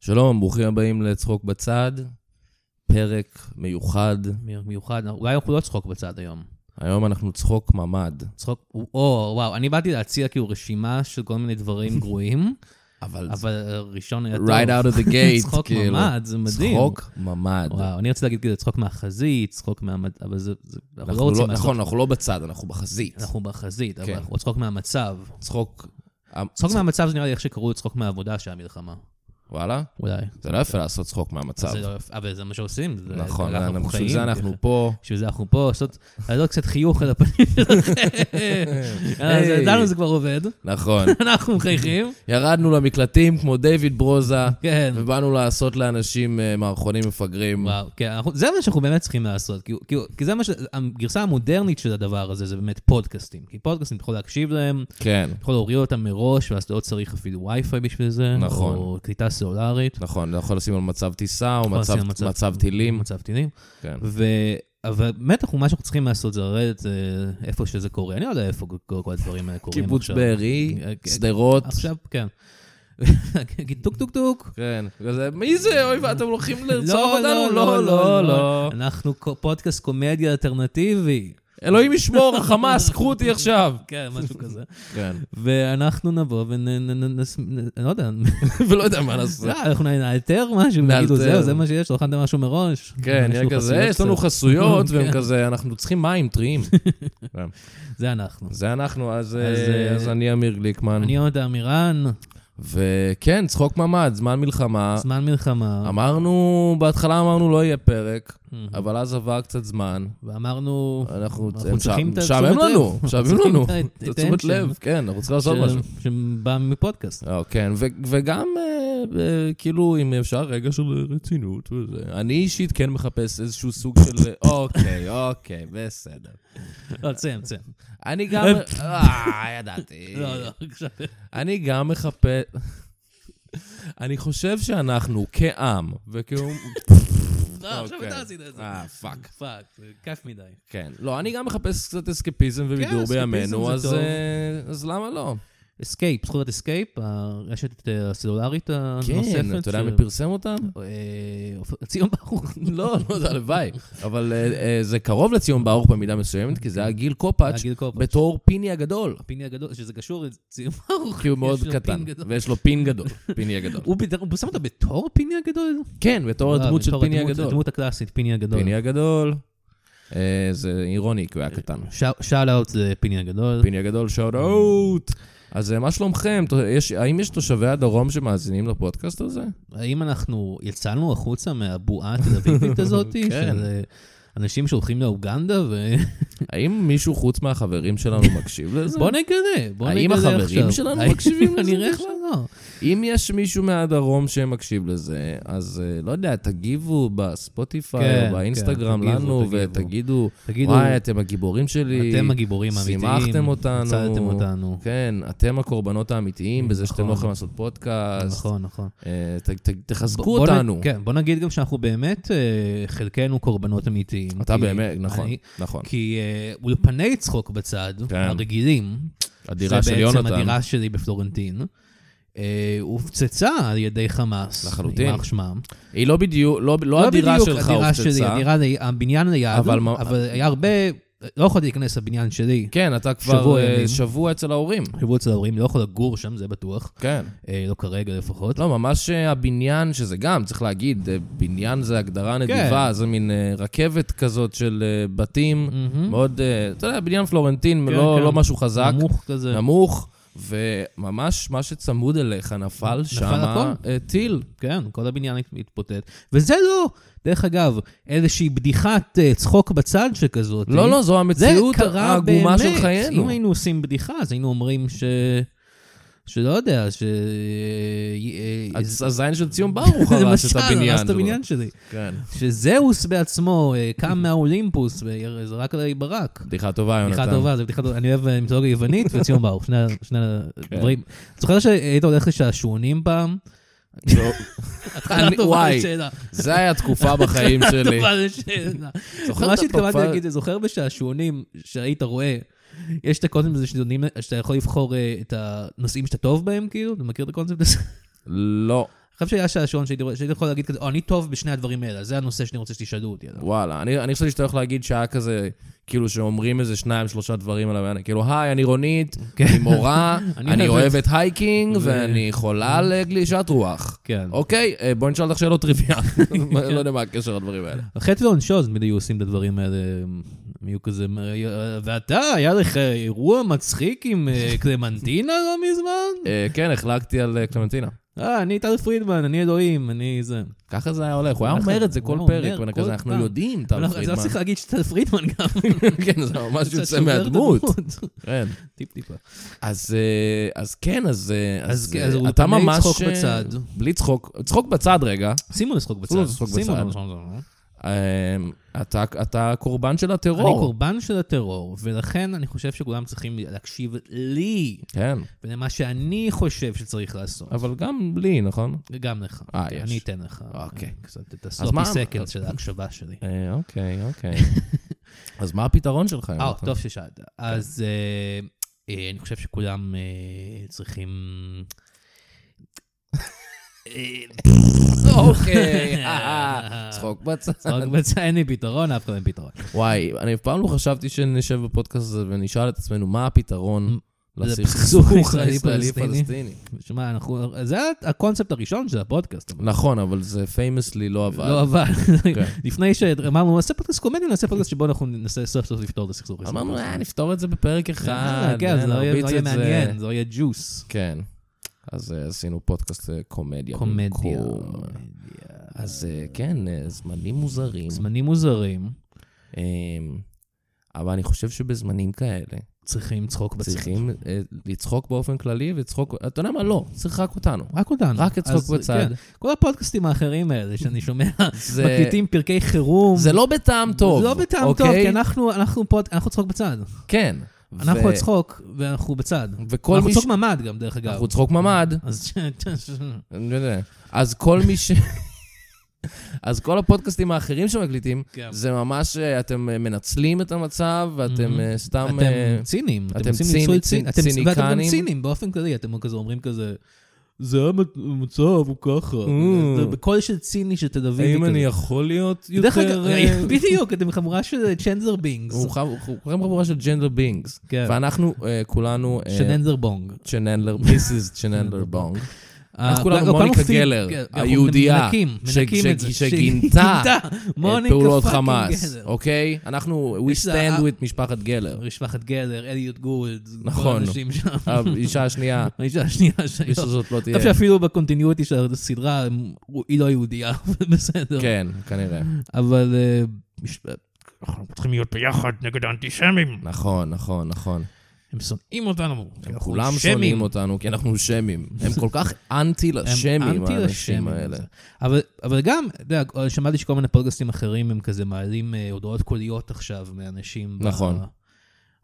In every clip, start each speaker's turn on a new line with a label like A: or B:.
A: שלום, ברוכים הבאים לצחוק בצד, פרק מיוחד.
B: מי- מיוחד, אולי אנחנו לא צחוק בצד היום.
A: היום אנחנו צחוק ממ"ד,
B: צחוק, או, וואו, אני באתי להציע כאילו רשימה של כל מיני דברים גרועים,
A: אבל
B: אבל הראשון היה טוב.
A: right out of the gate,
B: צחוק
A: כאילו.
B: ממ"ד, זה מדהים.
A: צחוק ממ"ד.
B: וואו, אני רוצה להגיד כאילו צחוק מהחזית, צחוק מהמד... אבל זה, זה אנחנו לא
A: אנחנו לא,
B: רוצים לעשות...
A: נכון, אנחנו לא בצד, אנחנו בחזית.
B: אנחנו בחזית, אבל
A: כן.
B: אנחנו צחוק מהמצב.
A: צחוק...
B: צחוק מהמצב זה נראה לי איך שקראו צחוק מהעבודה של המלחמה.
A: וואלה?
B: אולי.
A: זה לא יפה לעשות צחוק מהמצב.
B: זה לא יפה, אבל זה מה שעושים. זה-
A: נכון,
B: אנחנו
A: אנחנו- בשביל
B: חיים
A: זה אנחנו
B: ככה. אה,
A: פה.
B: בשביל זה אנחנו פה, לעשות לעלות קצת חיוך על הפנים שלכם. אה, זה-
A: היי.
B: ידענו זה כבר עובד.
A: נכון.
B: אנחנו מחייכים.
A: ירדנו למקלטים כמו דיוויד ברוזה,
B: כן.
A: ובאנו לעשות לאנשים אה, מערכונים מפגרים.
B: וואו, כן, אנחנו, זה מה שאנחנו באמת צריכים לעשות, כי, כי, כי זה מה ש... הגרסה המודרנית של הדבר הזה זה באמת פודקאסטים, כי פודקאסטים אתה יכול להקשיב להם,
A: כן,
B: אתה יכול להוריד אותם מראש, ואז אתה לא צריך אפילו וי-פיי בשביל זה,
A: נכון.
B: או קליטה סלולרית,
A: נכון, אתה יכול לשים על מצב טיסה או
B: יכול לשים
A: מצב-
B: על מצב-
A: מצב טילים.
B: מצב טילים,
A: כן.
B: ו... אבל באמת אנחנו, מה שאנחנו צריכים לעשות זה לרדת אה, איפה שזה קורה, אני לא יודע איפה כל, כל הדברים האלה קורים
A: קיבוץ
B: עכשיו.
A: בארי,
B: אה, כן.
A: שדרות.
B: עכשיו, כן. להגיד טוק טוק טוק.
A: כן, כזה, מי
B: אה,
A: זה? אוי, ואתם הולכים
B: לא,
A: לרצוח אותנו? לא,
B: אנחנו קו- פודקאסט קומדיה אלטרנטיבי.
A: אלוהים ישמור, החמאס, קחו אותי עכשיו.
B: כן, משהו כזה.
A: כן.
B: ואנחנו נבוא ונ... אני לא יודע,
A: ולא יודע מה לעשות.
B: לא, אנחנו נאלתר משהו, נגידו,
A: נאלתר.
B: זהו, זה מה שיש, לא הכנתם משהו מראש.
A: כן,
B: יש
A: נראה
B: לנו
A: כזה,
B: חסויות
A: יש לנו
B: קצת.
A: חסויות, והם
B: כן.
A: כזה, אנחנו צריכים מים טריים. כן.
B: זה אנחנו.
A: זה אנחנו, אז
B: אז,
A: אה,
B: אה,
A: אז אני אמיר גליקמן.
B: אני עוד אמירן,
A: אה. וכן, צחוק ממ"ד, זמן מלחמה.
B: זמן
A: אמ-
B: מלחמה,
A: אמרנו, בהתחלה אמרנו לא יהיה פרק, אבל אז עבר קצת זמן.
B: ואמרנו...
A: אנחנו
B: אנחנו צריכים את
A: משעמם
B: התשומת לב. אה,
A: לנו, משעמם
B: צריכים
A: לנו.
B: את
A: את תשומת
B: ה-attention.
A: לב, כן, אנחנו צריכים לעשות
B: ש-
A: משהו.
B: שבא מפודקאסט.
A: אה, כן, ו- וגם, אה, אה, כאילו, אם אפשר, רגע של אה, רצינות וזה. אני אישית כן מחפש איזשהו סוג של... אה, אוקיי, אוקיי, בסדר.
B: לא, תסיים, תסיים.
A: אני גם... אה, ידעתי.
B: לא, לא, עכשיו.
A: אני גם מחפש... אני חושב שאנחנו כעם, וכאום...
B: לא, עכשיו
A: אוקיי.
B: אתה עשית את זה.
A: אה, פאק.
B: פאק, זה כיף מדי.
A: כן. לא, אני גם מחפש קצת אסקפיזם ובידור
B: כן, אסקפיזם
A: בימינו,
B: זה
A: אז
B: טוב.
A: אה, אז למה לא?
B: אסקייפ, זכויות אסקייפ, הרשת אה, הסלולרית הנוספת.
A: כן, אתה יודע
B: ש-
A: מי פרסם אותם?
B: אה, אופ- ציון ברוך.
A: לא, לא, זה הלוואי. אבל אה, אה, זה קרוב לציון ברוך במידה מסוימת, כי זה היה גיל קופאץ'
B: גיל קופאץ'.
A: בתור פיני הגדול.
B: הפיני הגדול, שזה קשור לציון ברוך.
A: כי הוא מאוד
B: יש לו
A: קטן,
B: פין גדול.
A: ויש לו פין גדול, פיני הגדול.
B: הוא בד- הוא שם אותו בתור פיני הגדול?
A: כן, בתור
B: אה,
A: הדמות של
B: בתור
A: פיני
B: הדמות-
A: הגדול.
B: הדמות הקלאסית, פיני הגדול.
A: פיני הגדול. אה, זה אירוני, כי הוא היה קטן.
B: שאל אאוט זה פיני הגדול.
A: פיני הגדול, שאוט אאוט. אז אה, מה שלומכם? ת- יש- האם יש תושבי הדרום שמאזינים לפודקאסט הזה?
B: האם אנחנו יצאנו החוצה מהבועה התל אביבית הזאת?
A: כן.
B: של, אה, אנשים שהולכים לאוגנדה ו...
A: האם מישהו חוץ מהחברים שלנו מקשיב לזה?
B: בוא נגלה, בוא נגלה
A: האם
B: עכשיו.
A: החברים שלנו
B: האם-
A: מקשיבים לזה
B: כנראה
A: בכלל?
B: שלא.
A: אם יש מישהו מהדרום שמקשיב לזה, אז אה, לא יודע, תגיבו בספוטיפיי
B: כן,
A: או
B: כן,
A: באינסטגרם
B: תגיבו,
A: לנו,
B: תגיבו.
A: ותגידו,
B: תגידו,
A: וואי, אתם הגיבורים שלי.
B: אתם הגיבורים האמיתיים.
A: שימחתם אותנו.
B: הצלתם אותנו.
A: כן, אתם הקורבנות האמיתיים בזה שאתם
B: נכון.
A: לא יכולים לעשות פודקאסט.
B: נכון, נכון.
A: אה, ת- ת- תחזקו
B: בוא- בוא נ-
A: אותנו.
B: כן, בוא נגיד גם שאנחנו באמת, אה, חלקנו קורבנות אמיתיים.
A: אתה
B: כי
A: באמת, נכון,
B: אוקיי. אני-
A: נכון.
B: כי אה, אולפני צחוק בצד,
A: כן.
B: הרגילים,
A: הדירה של
B: זה
A: יונתן.
B: בעצם הדירה שלי בפלורנטין, אה, הופצצה על ידי חמאס.
A: לחלוטין.
B: יימח שמם.
A: היא לא בדיוק, לא לא
B: לא
A: הדירה
B: בדיוק
A: שלך
B: הדירה שלי,
A: הופצצה.
B: הדירה, לי- הבניין ליד,
A: אבל
B: אבל,
A: מה-
B: היה הרבה, לא יכולתי להיכנס לבניין שלי.
A: כן, אתה כבר
B: שבוע
A: אה,
B: ימים.
A: שבוע אצל ההורים.
B: חיבור אצל ההורים, לא יכול לגור שם, זה בטוח.
A: כן.
B: אה, לא כרגע לפחות.
A: לא, ממש אה, הבניין, שזה גם, צריך להגיד, אה, בניין זה הגדרה
B: כן.
A: נדיבה, זה מין אה, רכבת כזאת של אה, בתים,
B: מהמם.
A: מאוד, אה, אתה יודע, בניין פלורנטין,
B: כן,
A: לא
B: כן.
A: לא משהו חזק,
B: נמוך כזה.
A: נמוך, וממש מה שצמוד אליך נפל שם
B: הכל.
A: טיל.
B: כן, כל הבניין הת- התפוטט. וזה לא, דרך אגב, איזושהי בדיחת אה, צחוק בצד שכזאת. אה?
A: לא, לא, זו
B: זה
A: המציאות
B: קרה
A: העגומה
B: באמת.
A: של חיינו.
B: אם היינו עושים בדיחה, אז היינו אומרים ש... שלא יודע, ש... אה,
A: אז- הזין של ציון ברוך הרס את
B: למשל,
A: הבניין
B: הרס את
A: שלו.
B: הבניין שלי.
A: כן.
B: שזהוס בעצמו אה, קם מהאולימפוס וזרק עלי ברק.
A: בדיחה טובה, יונתן.
B: בדיחה טובה, זו בדיחה טובה. אני אוהב אה, מיתולוגיה יוונית וציון ברוך, שני ה- שני
A: כן.
B: הדברים. זוכר שהיית הולך לשעשועונים פעם?
A: טובה.
B: התחלה טובה
A: וואי.
B: לשאלה.
A: זה היה תקופה בחיים שלי.
B: טובה לשאלה.
A: זוכר
B: מה
A: את
B: שהתכוונתי
A: התופעה-
B: להגיד, זה זוכר בשעשועונים שהיית רואה, יש את הקונספט הזה שנותנים- שאתה יכול לבחור אה, את הנושאים שאתה טוב בהם, כאילו? אתה מכיר את הקונספט הזה?
A: לא.
B: חושב שהיה שעשועון שהייתי רואה- שהייתי יכול להגיד כזה, או, אני טוב בשני הדברים האלה, זה הנושא שאני רוצה שתשאלו אותי לא עליו.
A: וואלה, אני, אני חשבתי שאתה הולך להגיד שהיה כזה, כאילו שאומרים איזה שניים, שלושה דברים עליו, ואני כאילו, היי, אני רונית, אני מורה,
B: כן. אני
A: אני
B: אוהבת- אה?
A: אוהבת הייקינג,
B: ו-
A: ואני חולה על גלישת רוח.
B: כן.
A: אוקיי, אה, בואי נשאל אותך שאלות טריוויאליות. לא יודע מה הקשר לדברים האלה.
B: חטא ועונשו, אז תמיד היו עושים את הדברים האלה, הם היו כזה, "אה, ואתה, היה לך אירוע מצחיק עם אה, קלמנטינה לא מזמן?
A: אה, כן, החלקתי על אה, קלמנטינה.
B: אה, אני טל פרידמן, אני אלוהים, אני זה.
A: ככה זה היה הולך, הוא היה
B: ככה-
A: אומר את זה
B: הוא
A: כל
B: היה אומר
A: פרק, ואני
B: כל
A: כזה, אנחנו
B: פעם."
A: יודעים,
B: אבל
A: טל
B: לא- אז לא צריך
A: פרידמן.
B: להגיד שטל פרידמן גם.
A: כן, זה ממש
B: קצת
A: יוצא
B: שובר את
A: מהדמות.
B: הדמות.
A: כן.
B: טיפ-טיפה.
A: אז, אה, אז כן, אז, אה,
B: אז
A: אז
B: כן,
A: אה,
B: אז
A: אתה
B: אולפני
A: ממש...
B: צחוק
A: אה,
B: בצד.
A: בלי צחוק, צחוק בצד רגע.
B: שימו לצחוק בצד.
A: שימו לצחוק
B: שימו
A: בצד.
B: לצחוק.
A: אה, אתה, אתה קורבן של הטרור.
B: אני קורבן של הטרור, ולכן אני חושב שכולם צריכים להקשיב לי,
A: כן,
B: ולמה שאני חושב שצריך לעשות.
A: אבל גם לי, נכון?
B: גם לך.
A: אה,
B: כן,
A: יש.
B: אני אתן לך.
A: אוקיי.
B: אה, קצת את
A: אז מה-
B: הסלופי סקנד של ההקשבה שלי.
A: אה, אוקיי, אוקיי. אז מה הפתרון שלך?
B: אה,
A: יונתן?
B: טוב ששאלת.
A: כן.
B: אז אה, אה, אני חושב שכולם אה, צריכים... אה,
A: אוקיי, אה, צחוק בצד.
B: צחוק בצד, אין לי פתרון, אף אחד אין פתרון.
A: וואי, אני אף פעם לא חשבתי שנשב בפודקאסט הזה ונשאל את עצמנו מה הפתרון
B: לסכסוך
A: לסכסוך
B: הישראלי-פלסטיני.
A: הישראלי-פלסטיני.
B: שמע, אנחנו... זה הקונספט הראשון של הפודקאסט. אבל
A: נכון, אבל זה פיימסלי לא עבד.
B: לא, אבל...
A: כן.
B: לפני שאמרנו, נעשה פודקאסט קומדיה, נעשה פודקאסט שבו אנחנו ננסה סוף סוף לפתור את הסכסוך.
A: אמרנו,
B: הישראלי-פלסטיני.
A: אה, נפתור את זה בפרק אחד.
B: אה, כן, זה
A: אה,
B: לא יהיה
A: נרביץ
B: לא יהיה
A: את זה.
B: מעניין, זה לא יהיה ג'וס.
A: כן. אז אה, עשינו פודקאסט אה, קומדיה.
B: קומדיה.
A: במקום. אז אה, כן, אה, זמנים מוזרים.
B: זמנים מוזרים,
A: אמ, אבל אני חושב שבזמנים כאלה
B: צריכים צחוק בצד.
A: צריכים אה, לצחוק באופן כללי ולצחוק, אתה יודע מה? לא, צריך רק אותנו.
B: רק אותנו.
A: רק את צחוק
B: אז,
A: בצד.
B: כן, כל הפודקאסטים האחרים האלה שאני שומע,
A: זה-
B: מקליטים פרקי חירום.
A: זה לא בטעם טוב.
B: לא בטעם טוב,
A: אוקיי?
B: כי אנחנו- אנחנו פוד- אנחנו צחוק בצד.
A: כן.
B: אנחנו
A: ו-
B: הצחוק ואנחנו בצד.
A: וכל
B: אנחנו
A: מי ש-
B: צחוק ממ"ד גם, דרך אגב.
A: אנחנו צחוק ממ"ד.
B: אז ש- ש-
A: אני יודע. אז כל מי ש... אז כל הפודקאסטים האחרים שמקליטים,
B: כן.
A: זה ממש, אה, אתם אה, מנצלים את המצב, ואתם
B: Mhm.
A: אה, סתם... אה,
B: אתם ציניים, אתם
A: אתם
B: עושים
A: ציני-
B: ניצול
A: צינ-
B: ציני, אתם- ואתם גם
A: ציניקנים.
B: ציניים באופן כללי, אתם כזה אומרים כזה, זה המת- המצב, הוא ככה.
A: Mm.
B: זה בקול של ציני של תל אביבי
A: האם
B: כזה.
A: אני יכול להיות
B: דרך
A: יותר...
B: אגב,
A: אה,
B: בדיוק, אתם חמורה של צ'נזר בינגס.
A: הוא חב- הוא קוראים חבורה של ג'נדר בינגס.
B: כן.
A: ואנחנו אה, כולנו... אה,
B: שננזר בונג.
A: צ'ננדלר, מיסיס צ'ננדלר בונג.
B: אה,
A: אנחנו כולנו
B: לא,
A: מוניקה
B: כולנו
A: גלר,
B: פי- כן, אנחנו
A: היהודייה,
B: מנקים,
A: ש-
B: מנקים
A: ש-
B: את זה. אה,
A: שגינתה את
B: מוניקה
A: פעולות
B: פאקינג אה-
A: חמאס,
B: גלר.
A: אוקיי? אנחנו,
B: יש
A: we
B: לה-
A: stand with משפחת גלר.
B: משפחת גלר, אליוט גולד,
A: נכון.
B: כל האנשים שם.
A: האישה השנייה,
B: האישה השנייה שהיום.
A: אישה הזאת לא
B: אני
A: תהיה.
B: חושב שאפילו בקונטיניוטי של הסדרה, הם- הוא- היא לא יהודייה, אבל בסדר.
A: כן, כנראה.
B: אבל אה, מש-
C: אנחנו צריכים להיות ביחד נגד האנטישמים.
A: נכון, נכון, נכון.
B: הם שונאים אותנו.
A: הם
B: אנחנו
A: כולם
B: שמים.
A: שונאים אותנו כי אנחנו שמים. הם כל כך אנטי
B: הם
A: לשמים,
B: אנטי
A: האנשים
B: לשמים
A: האלה.
B: הזה. אבל, אבל גם, אתה יודע, שמעתי שכל מיני פודקאסטים אחרים הם כזה מעלים אה, הודעות קוליות עכשיו מאנשים. ב-
A: נכון.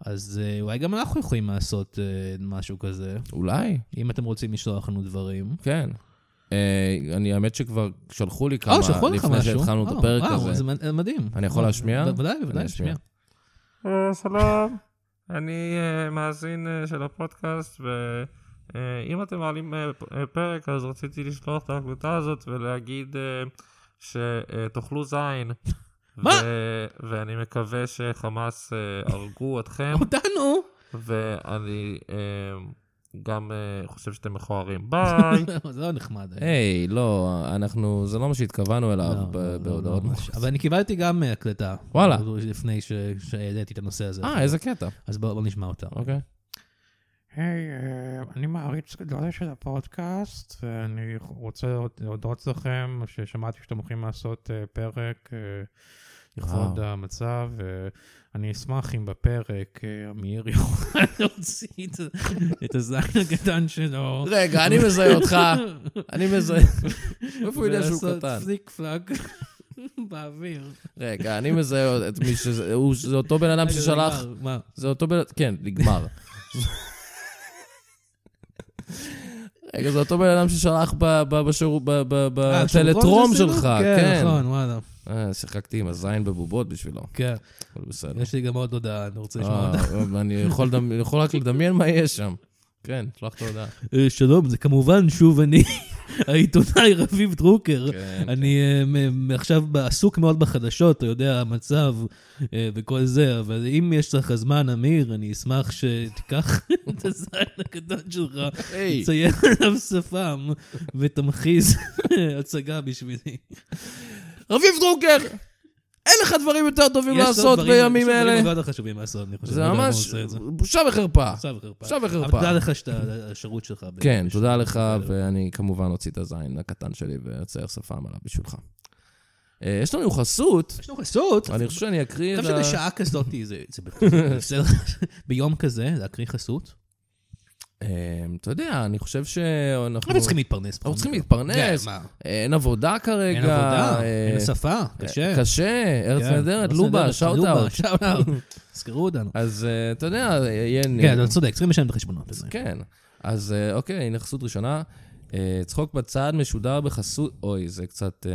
B: אז אה, אולי גם אנחנו יכולים לעשות אה, משהו כזה,
A: אולי,
B: אם אתם רוצים לשלוח לנו דברים.
A: כן. אה, אני, האמת שכבר שלחו לי כמה,
B: אה, שלחו לך
A: לפני
B: משהו.
A: שהתחלנו את
B: אה,
A: הפרק
B: וואו,
A: הזה.
B: זה מד- מדהים.
A: אני יכול
B: אה,
A: להשמיע?
B: בוודאי,
A: אני
B: בוודאי,
A: אשמיע.
B: להשמיע.
D: אה, שלום, אני אה, מאזין אה, של הפודקאסט, ואם אתם מעלים אה, פ- אה, פרק, אז רציתי לשלוח את ההקלטה הזאת ולהגיד אה, שתאכלו זין.
B: מה?
D: ו- ואני מקווה שחמאס אה, הרגו אתכם,
B: אותנו?
D: ואני אה, גם אה, חושב שאתם מכוערים. ביי!
B: זה לא נחמד. אה.
A: היי, לא, אנחנו, זה לא מה שהתכוונו אליו
B: לא,
A: ב-
B: לא, לא,
A: בהודעות.
B: לא ממש. אבל אני קיבלתי גם אה, הקלטה.
A: וואלה.
B: לפני ש- שהעליתי את הנושא הזה.
A: אה, איזה קטע.
B: אז בואו נשמע אותה.
A: אוקיי.
C: היי, אה, אני מעריץ גדול של הפודקאסט, ואני רוצה להודות לכם ששמעתי שאתם הולכים לעשות אה, פרק אה, לכבוד
A: וואו.
C: המצב, ואני אשמח אם בפרק אה, אמיר
B: להוציא את ה- את הזין הקטן שלו.
A: רגע, אני מזהה אותך, אני מזהה. איפה הוא יודע שהוא
B: ולעשות
A: קטן?
B: פליק פלאק באוויר.
A: רגע, אני מזהה את מי שזה, הוא- זה אותו בן אדם
B: רגע, זה
A: ששלח,
B: נגמר, מה?
A: זה אותו בן, כן, נגמר. רגע, זה אותו בן אדם ששלח ב- ב- בשירות- ב- ב-
B: אה,
A: בטלטרום
B: שומרון זה
A: שלך,
B: סילוק?
A: כן.
B: נכון, וואלה.
A: אה, שיחקתי עם הזין בבובות בשבילו,
B: כן.
A: הכל בסדר.
B: יש לי גם עוד הודעה, אני רוצה לשמוע
A: אה,
B: אותה.
A: אני יכול לדמ- יכול רק לדמיין מה יש שם. כן, שלח את ההודעה.
B: שלום, זה אה, כמובן שוב אני. העיתונאי רביב דרוקר.
A: כן.
B: אני אה, מ- מ- עכשיו עסוק מאוד בחדשות, אתה יודע, המצב אה, וכל זה, אבל אם יש לך זמן, אמיר, אני אשמח שתיקח את הזין הקטן שלך,
A: היי,
B: תצייר עליו שפם ותמחיז הצגה בשבילי.
A: רביב דרוקר, אין לך דברים יותר טובים
B: יש לו
A: לעשות
B: דברים-
A: בימים
B: יש לו
A: אלה.
B: דברים מאוד חשובים לעשות, אני חושב.
A: זה
B: אני לא יודע למה הוא
A: ממש
B: עושה את זה.
A: בושה וחרפה.
B: בושה וחרפה.
A: בושה וחרפה.
B: אבל תודה לך שאתה, על השירות שלך. ב-
A: כן,
B: בשביל-
A: תודה לך, ואני כמובן אוציא את הזין הקטן שלי ואצייר שפם עליו בשבילך. אה, יש לנו חסות,
B: יש לנו חסות.
A: אני חושב שאני אקריא
B: אני
A: את
B: חושב
A: ה...
B: שבשעה כזאת, זה- זה בסדר, ביום כזה, להקריא חסות.
A: אה, אתה יודע, אני חושב שאנחנו...
B: אנחנו צריכים להתפרנס.
A: אנחנו צריכים
B: כן,
A: להתפרנס,
B: מה?
A: אין עבודה כרגע.
B: אין עבודה,
A: אה,
B: אין שפה, קשה.
A: אה, קשה, ארץ
B: כן,
A: נהדרת,
B: ארץ
A: לובה,
B: נהדרת, לובה,
A: שאוט-אאוט.
B: שאוט-אאוט. תזכרו אותנו.
A: אז אה, אתה יודע, יהיה...
B: כן, אתה צודק, צריכים לשלם את החשבונות. הזה.
A: כן. אז אה, אוקיי, הנה חסות ראשונה. אה, צחוק בצד משודר בחסות... אוי, זה קצת אה,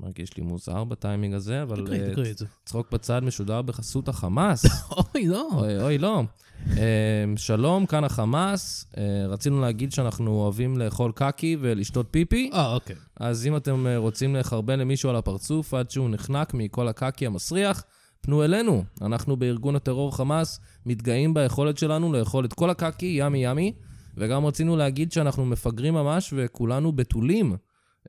A: מרגיש לי מוזר בטיימינג הזה, אבל
B: תקריא,
A: אה,
B: תקריא את זה.
A: צחוק בצד משודר בחסות החמאס.
B: אוי, לא.
A: אוי, אוי, לא. אה, שלום, כאן החמאס. אה, רצינו להגיד שאנחנו אוהבים לאכול קקי ולשתות פיפי,
B: אה, אוקיי.
A: אז אם אתם אה, רוצים לחרבן למישהו על הפרצוף עד שהוא נחנק מכל הקקי המסריח, פנו אלינו. אנחנו בארגון הטרור חמאס מתגאים ביכולת שלנו לאכול את כל הקקי, ימי ימי, וגם רצינו להגיד שאנחנו מפגרים ממש וכולנו בתולים.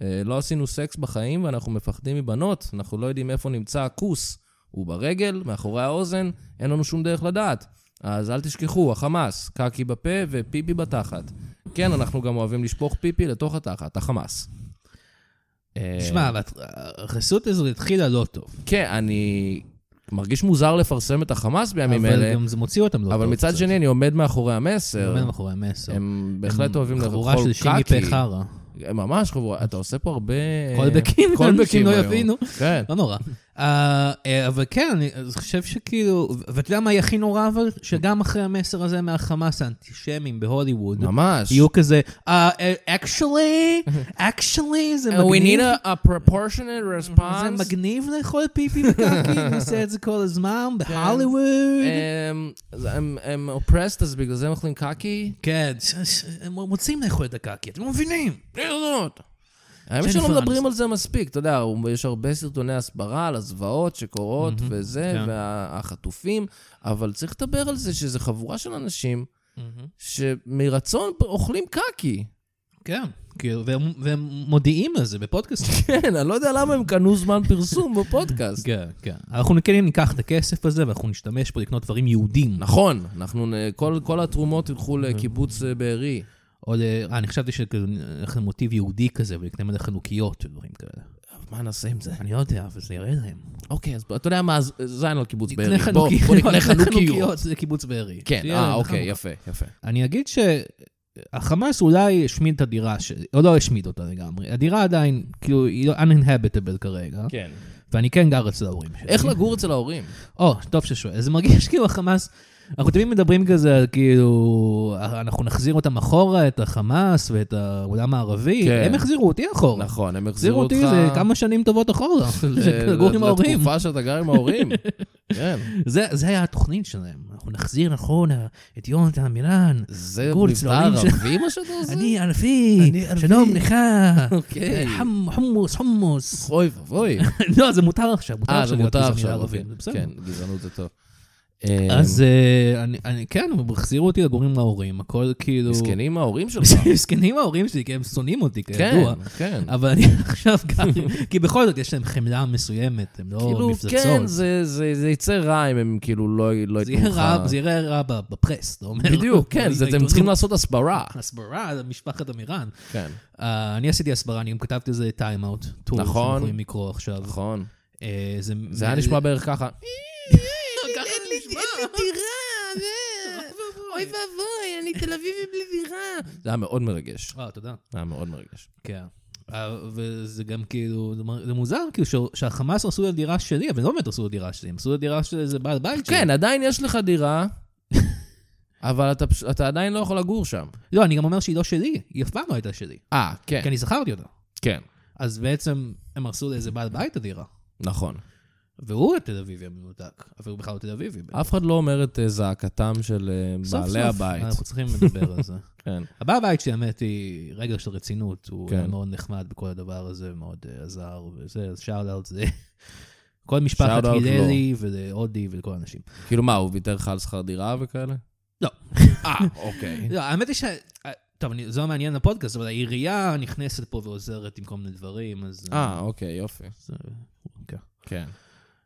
A: אה, לא עשינו סקס בחיים ואנחנו מפחדים מבנות, אנחנו לא יודעים איפה נמצא הכוס. הוא ברגל, מאחורי האוזן, אין לנו שום דרך לדעת. אז אל תשכחו, החמאס, קקי בפה ופיפי בתחת. כן, אנחנו גם אוהבים לשפוך פיפי לתוך התחת, החמאס. אה,
B: תשמע, אבל החסות הזו התחילה לא טוב.
A: כן, אני מרגיש מוזר לפרסם את החמאס בימים
B: אבל
A: אלה,
B: גם זה מוציא אותם לא טוב.
A: אבל מצד
B: קצת.
A: שני, אני עומד מאחורי
B: זה
A: המסר.
B: עומד מאחורי המסר.
A: הם בהחלט אוהבים לאכול
B: חבורה של שימי
A: קקי.
B: פה חרא.
A: ממש חבורה, אתה עושה פה הרבה...
B: קולבקים, אנשים לא
A: אה, היום.
B: יבינו.
A: כן.
B: לא נורא. אה, אה, אבל כן, אני אז חושב שכאילו, ו- ואתה יודע מה יהיה הכי נורא אבל? שגם אחרי המסר הזה מהחמאס האנטישמים בהוליווד,
A: ממש.
B: יהיו כזה, "אה, אה, actually, actually, זה
A: Uh, we need
B: מגניב.
A: a, a proportionate response.
B: זה מגניב לאכול פיפי וקקי, הוא עושה את זה כל הזמן,
A: כן.
B: בהוליווד.
A: הם, הם, הם oppressed, אז בגלל זה הם אוכלים קקי?
B: כן, ש- ש- הם רוצים לאכול את הקקי, אתם לא מבינים.
A: לראות. האמת
B: ג'ניפר
A: שלא מדברים על זה מספיק, אתה יודע, יש הרבה סרטוני הסברה על הזוועות שקורות וזה,
B: כן.
A: והחטופים, אבל צריך לדבר על זה שזו חבורה של אנשים Mm-hmm. שמרצון אוכלים קקי.
B: כן, כאילו, והם- והם מודיעים על זה בפודקאסטים.
A: כן, אני לא יודע למה הם קנו זמן פרסום בפודקאסט.
B: כן, כן. אנחנו כן ניקח את הכסף הזה ואנחנו נשתמש פה לקנות דברים יהודים.
A: נכון, אנחנו, נ- כל כל התרומות ילכו לקיבוץ אה, בארי.
B: או ל... אה, אני חשבתי שזה מוטיב יהודי כזה, ולקנה מלא חנוכיות ודברים כאלה.
A: מה נעשה עם זה?
B: אני לא יודע, אבל זה יראה להם.
A: אוקיי, אז אתה יודע מה, אז זין על קיבוץ בארי.
B: נקנה
A: בוא,
B: חנוכיות.
A: בוא נקנה חנוכיות.
B: זה קיבוץ בארי.
A: כן,
B: שיהיה
A: אה,
B: להם
A: אוקיי,
B: לחנוכה.
A: יפה, יפה.
B: אני אגיד שהחמאס אולי השמיד את הדירה שלי, או לא השמיד אותה לגמרי. הדירה עדיין, כאילו, היא לא uninhabitable כרגע,
A: כן.
B: ואני כן גר אצל ההורים שלי.
A: איך לגור אצל ההורים?
B: או, טוב ששואל. זה מרגיש כאילו החמאס, אנחנו תמיד מדברים כזה על כאילו, אנחנו נחזיר אותם אחורה, את החמאס ואת העולם הערבי,
A: כן.
B: הם החזירו אותי אחורה.
A: נכון, הם החזירו
B: החזירו
A: אותך...
B: אותי איזה כמה שנים טובות אחורה,
A: ל-
B: לגור עם
A: ל-
B: ההורים.
A: לתקופה שאתה גר עם ההורים. כן.
B: זה זה היה התוכנית שלהם, אנחנו נחזיר אחורה את יונתן מילן.
A: זה
B: גור,
A: מבטא
B: אצל ההורים של-
A: ערבי מה שאתה עושה?
B: אני ערבי,
A: אני ערבי.
B: שלום לך,
A: אוקיי.
B: אה, חמ- חומוס, חומוס.
A: אוי ואבוי.
B: לא, זה מותר עכשיו, מותר
A: אה, זה
B: עכשיו להיות
A: מותר
B: גזעני
A: עכשיו.
B: לערבים,
A: אוקיי.
B: זה בסדר.
A: כן, אמ, גזענות זה טוב.
B: אז אה, אני- אני, כן, הם החזירו אותי לגור עם ההורים, הכל
A: אה,
B: כאילו...
A: מסכנים ההורים שלך.
B: מסכנים ההורים שלי, כי הם שונאים אותי,
A: כן,
B: כידוע.
A: כן.
B: אבל אני עכשיו גם, כי בכל זאת יש להם חמלה מסוימת, הם לא
A: כאילו, כן,
B: מפלצות.
A: זה- זה זה יצא רע אם הם כאילו לא לא
B: זה
A: ייתנו
B: יהיה רע,
A: לך...
B: זה יראה רע ב- בפרס, אתה אומר.
A: בדיוק, כן, זה- אתם צריכים לעשות הסברה.
B: הסברה למשפחת אמירן.
A: כן,
B: אה, אני עשיתי הסברה, אני גם כתבתי איזה time out, טור שאתם
A: נכון.
B: יכולים לקרוא עכשיו.
A: נכון.
B: אה,
A: זה היה נשמע בערך ככה.
B: ככה זה נשמע. אה,
A: אוי ואבוי, אני תל אביבי בלי דירה. נכון. זה היה מאוד מרגש.
B: אה, תודה.
A: זה היה מאוד מרגש.
B: כן. אה, וזה גם כאילו, זה מ- זה מוזר כאילו ש- שהחמאס עשו לדירה שלי, אבל הם לא באמת עשו לדירה שלי, הם עשו לדירה של איזה בעל בית שלי.
A: כן, עדיין יש לך דירה, אבל אתה פש- אתה עדיין לא יכול לגור שם.
B: לא, אני גם אומר שהיא לא שלי, היא אף פעם לא הייתה שלי.
A: אה, כן,
B: כי אני זכרתי אותה.
A: כן,
B: אז בעצם הם הרסו לאיזה בעל בית את הדירה.
A: נכון.
B: והוא התל אביבי המנותק, אבל הוא בכלל לא תל אביבי.
A: אף אחד לא אומר את אה, זעקתם של אה,
B: סוף
A: בעלי
B: סוף אה,
A: הבית.
B: אנחנו צריכים לדבר על זה.
A: כן.
B: הבעל בית שלי, האמת היא, רגע של רצינות, הוא
A: כן.
B: היה מאוד נחמד בכל הדבר הזה, מאוד אה, עזר וזה, אז שאל אאוט זה. כל
A: Shout
B: משפחת
A: out
B: היללי ולהודי ולכל האנשים.
A: כאילו מה, הוא ויתר לך על שכר דירה וכאלה?
B: לא.
A: אה, אוקיי.
B: לא, האמת היא ש... אה, טוב, אני- זה לא מעניין לפודקאסט, אבל העירייה נכנסת פה ועוזרת עם כל מיני דברים, אז...
A: אה, אוקיי, יופי.
B: זה- אוקיי.
A: כן.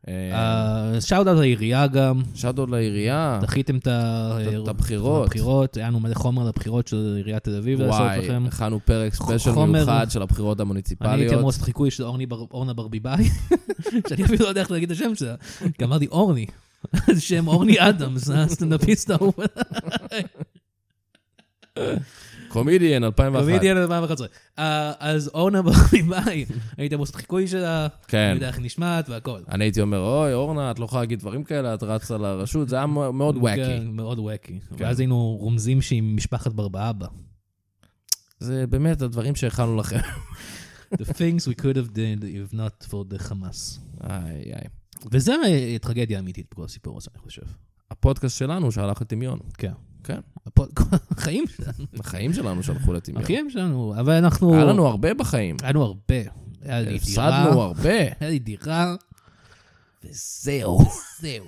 B: אה, שאוט אאוט לעירייה גם,
A: שאדו לעירייה,
B: דחיתם את ה-
A: אה. את הבחירות.
B: אה, הבחירות, היה לנו מלא חומר לבחירות של עיריית תל אביב לעשות
A: וואי,
B: לכם.
A: הכנו פרק ספיישל
B: חומר-
A: מיוחד של הבחירות
B: אני הייתי אמור
A: המוניציפליות.
B: לעשות חיקוי של אורני בר- אורנה ברביבאי, שאני אפילו לא יודע איך להגיד את השם שלה, כי אמרתי אורני. אז שם אורני אדמס, הסטנדאפיסט ההוא.
A: קומדיאן 2001.
B: קומדיאן 2011. אה, אז אורנה ברביבאי, הייתי אמור לעשות חיקוי שלה, אני
A: כן.
B: יודע איך היא נשמעת והכל.
A: אני הייתי אומר, אוי, אורנה, את לא יכולה להגיד דברים כאלה, את רצה לרשות, זה היה מ- מאוד כן.
B: כן,
A: וואקי.
B: מאוד וואקי. ואז היינו רומזים שהיא משפחת ברבאבא.
A: זה באמת הדברים שהכנו לכם.
B: The things we could have did if not for the חמאס.
A: איי, איי.
B: וזה אה, טרגדיה אמיתית בכל הסיפור הזה, אני חושב.
A: הפודקאסט שלנו שהלך לטמיון.
B: כן.
A: כן.
B: הפוד- כל החיים שלנו,
A: החיים שלנו שהלכו לטמיון.
B: החיים שלנו, אבל אנחנו...
A: כן. היה לנו הרבה בחיים.
B: היה לנו הרבה. היה לי דירה,
A: הפסדנו הרבה.
B: היה לי דירה, וזהו, זהו.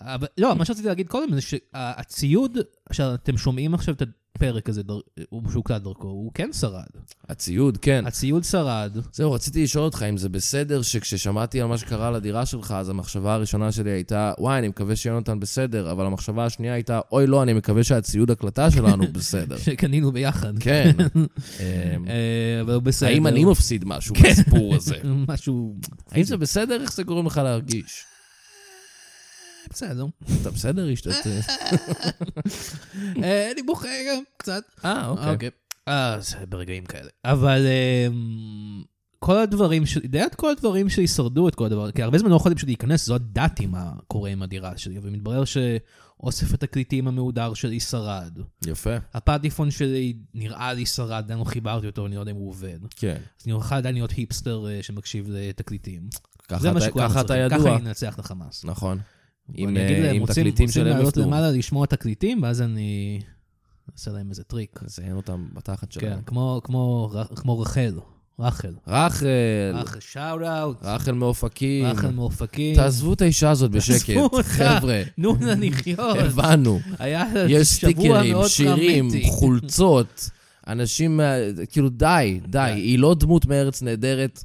B: אבל לא, מה שרציתי להגיד קודם זה שהציוד שאתם שומעים עכשיו את הפרק הזה, דר- הוא שהוקלט דרכו, הוא כן שרד.
A: הציוד, כן.
B: הציוד שרד,
A: זהו, רציתי לשאול אותך אם זה בסדר שכששמעתי על מה שקרה לדירה שלך, אז המחשבה הראשונה שלי הייתה, וואי, אני מקווה שיונתן בסדר, אבל המחשבה השנייה הייתה, אוי, לא, אני מקווה שהציוד הקלטה שלנו בסדר.
B: שקנינו ביחד.
A: כן. אמ,
B: אה, אבל הוא בסדר. כן.
A: האם אני מפסיד משהו בסיפור הזה?
B: משהו...
A: האם זה בסדר? איך זה גורם לך להרגיש?
B: אה, בסדר.
A: אתה בסדר, השתתף?
B: אה, אני בוכה גם קצת.
A: אה, אוקיי.
B: אוקיי. אה, זה ברגעים כאלה. אבל אמ, כל הדברים, ש- די עד כל הדברים שישרדו את כל הדבר, כי הרבה זמן לא יכולתי פשוט להיכנס, זו דעתי מה קורה עם הדירה שלי, ומתברר שאוסף התקליטים המהודר שלי שרד.
A: יפה.
B: הפטיפון שלי נראה לי שרד, עדיין לא חיברתי אותו, אני לא יודע אם הוא עובד.
A: כן.
B: אז אני יכול עדיין להיות היפסטר אה, שמקשיב לתקליטים.
A: ככה
B: זה מה
A: אתה-
B: שכולם
A: ככה אתה
B: צריכים,
A: ידוע.
B: ככה אני אנצח את החמאס.
A: נכון. עם,
B: אני אגיד
A: אה,
B: להם,
A: עם
B: רוצים-
A: תקליטים של
B: רוצים
A: אלף
B: לעלות
A: דום.
B: למעלה לשמוע תקליטים, ואז אני אעשה להם איזה טריק.
A: נזיין אותם בתחת
B: כן,
A: שלהם.
B: כמו- כמו ר- כמו רחל, רחל.
A: רחל,
B: רחל שאוט אאוט,
A: רחל מאופקים.
B: רחל מאופקים.
A: תעזבו את האישה הזאת בשקט,
B: עזבו אותה.
A: חבר'ה.
B: תנו לה לחיות.
A: הבנו.
B: היה
A: יש
B: שבוע
A: סטיקרים,
B: מאוד
A: שירים,
B: טראומטי.
A: חולצות. אנשים, מה- כאילו, די, די.
B: כן.
A: היא לא דמות מארץ נהדרת.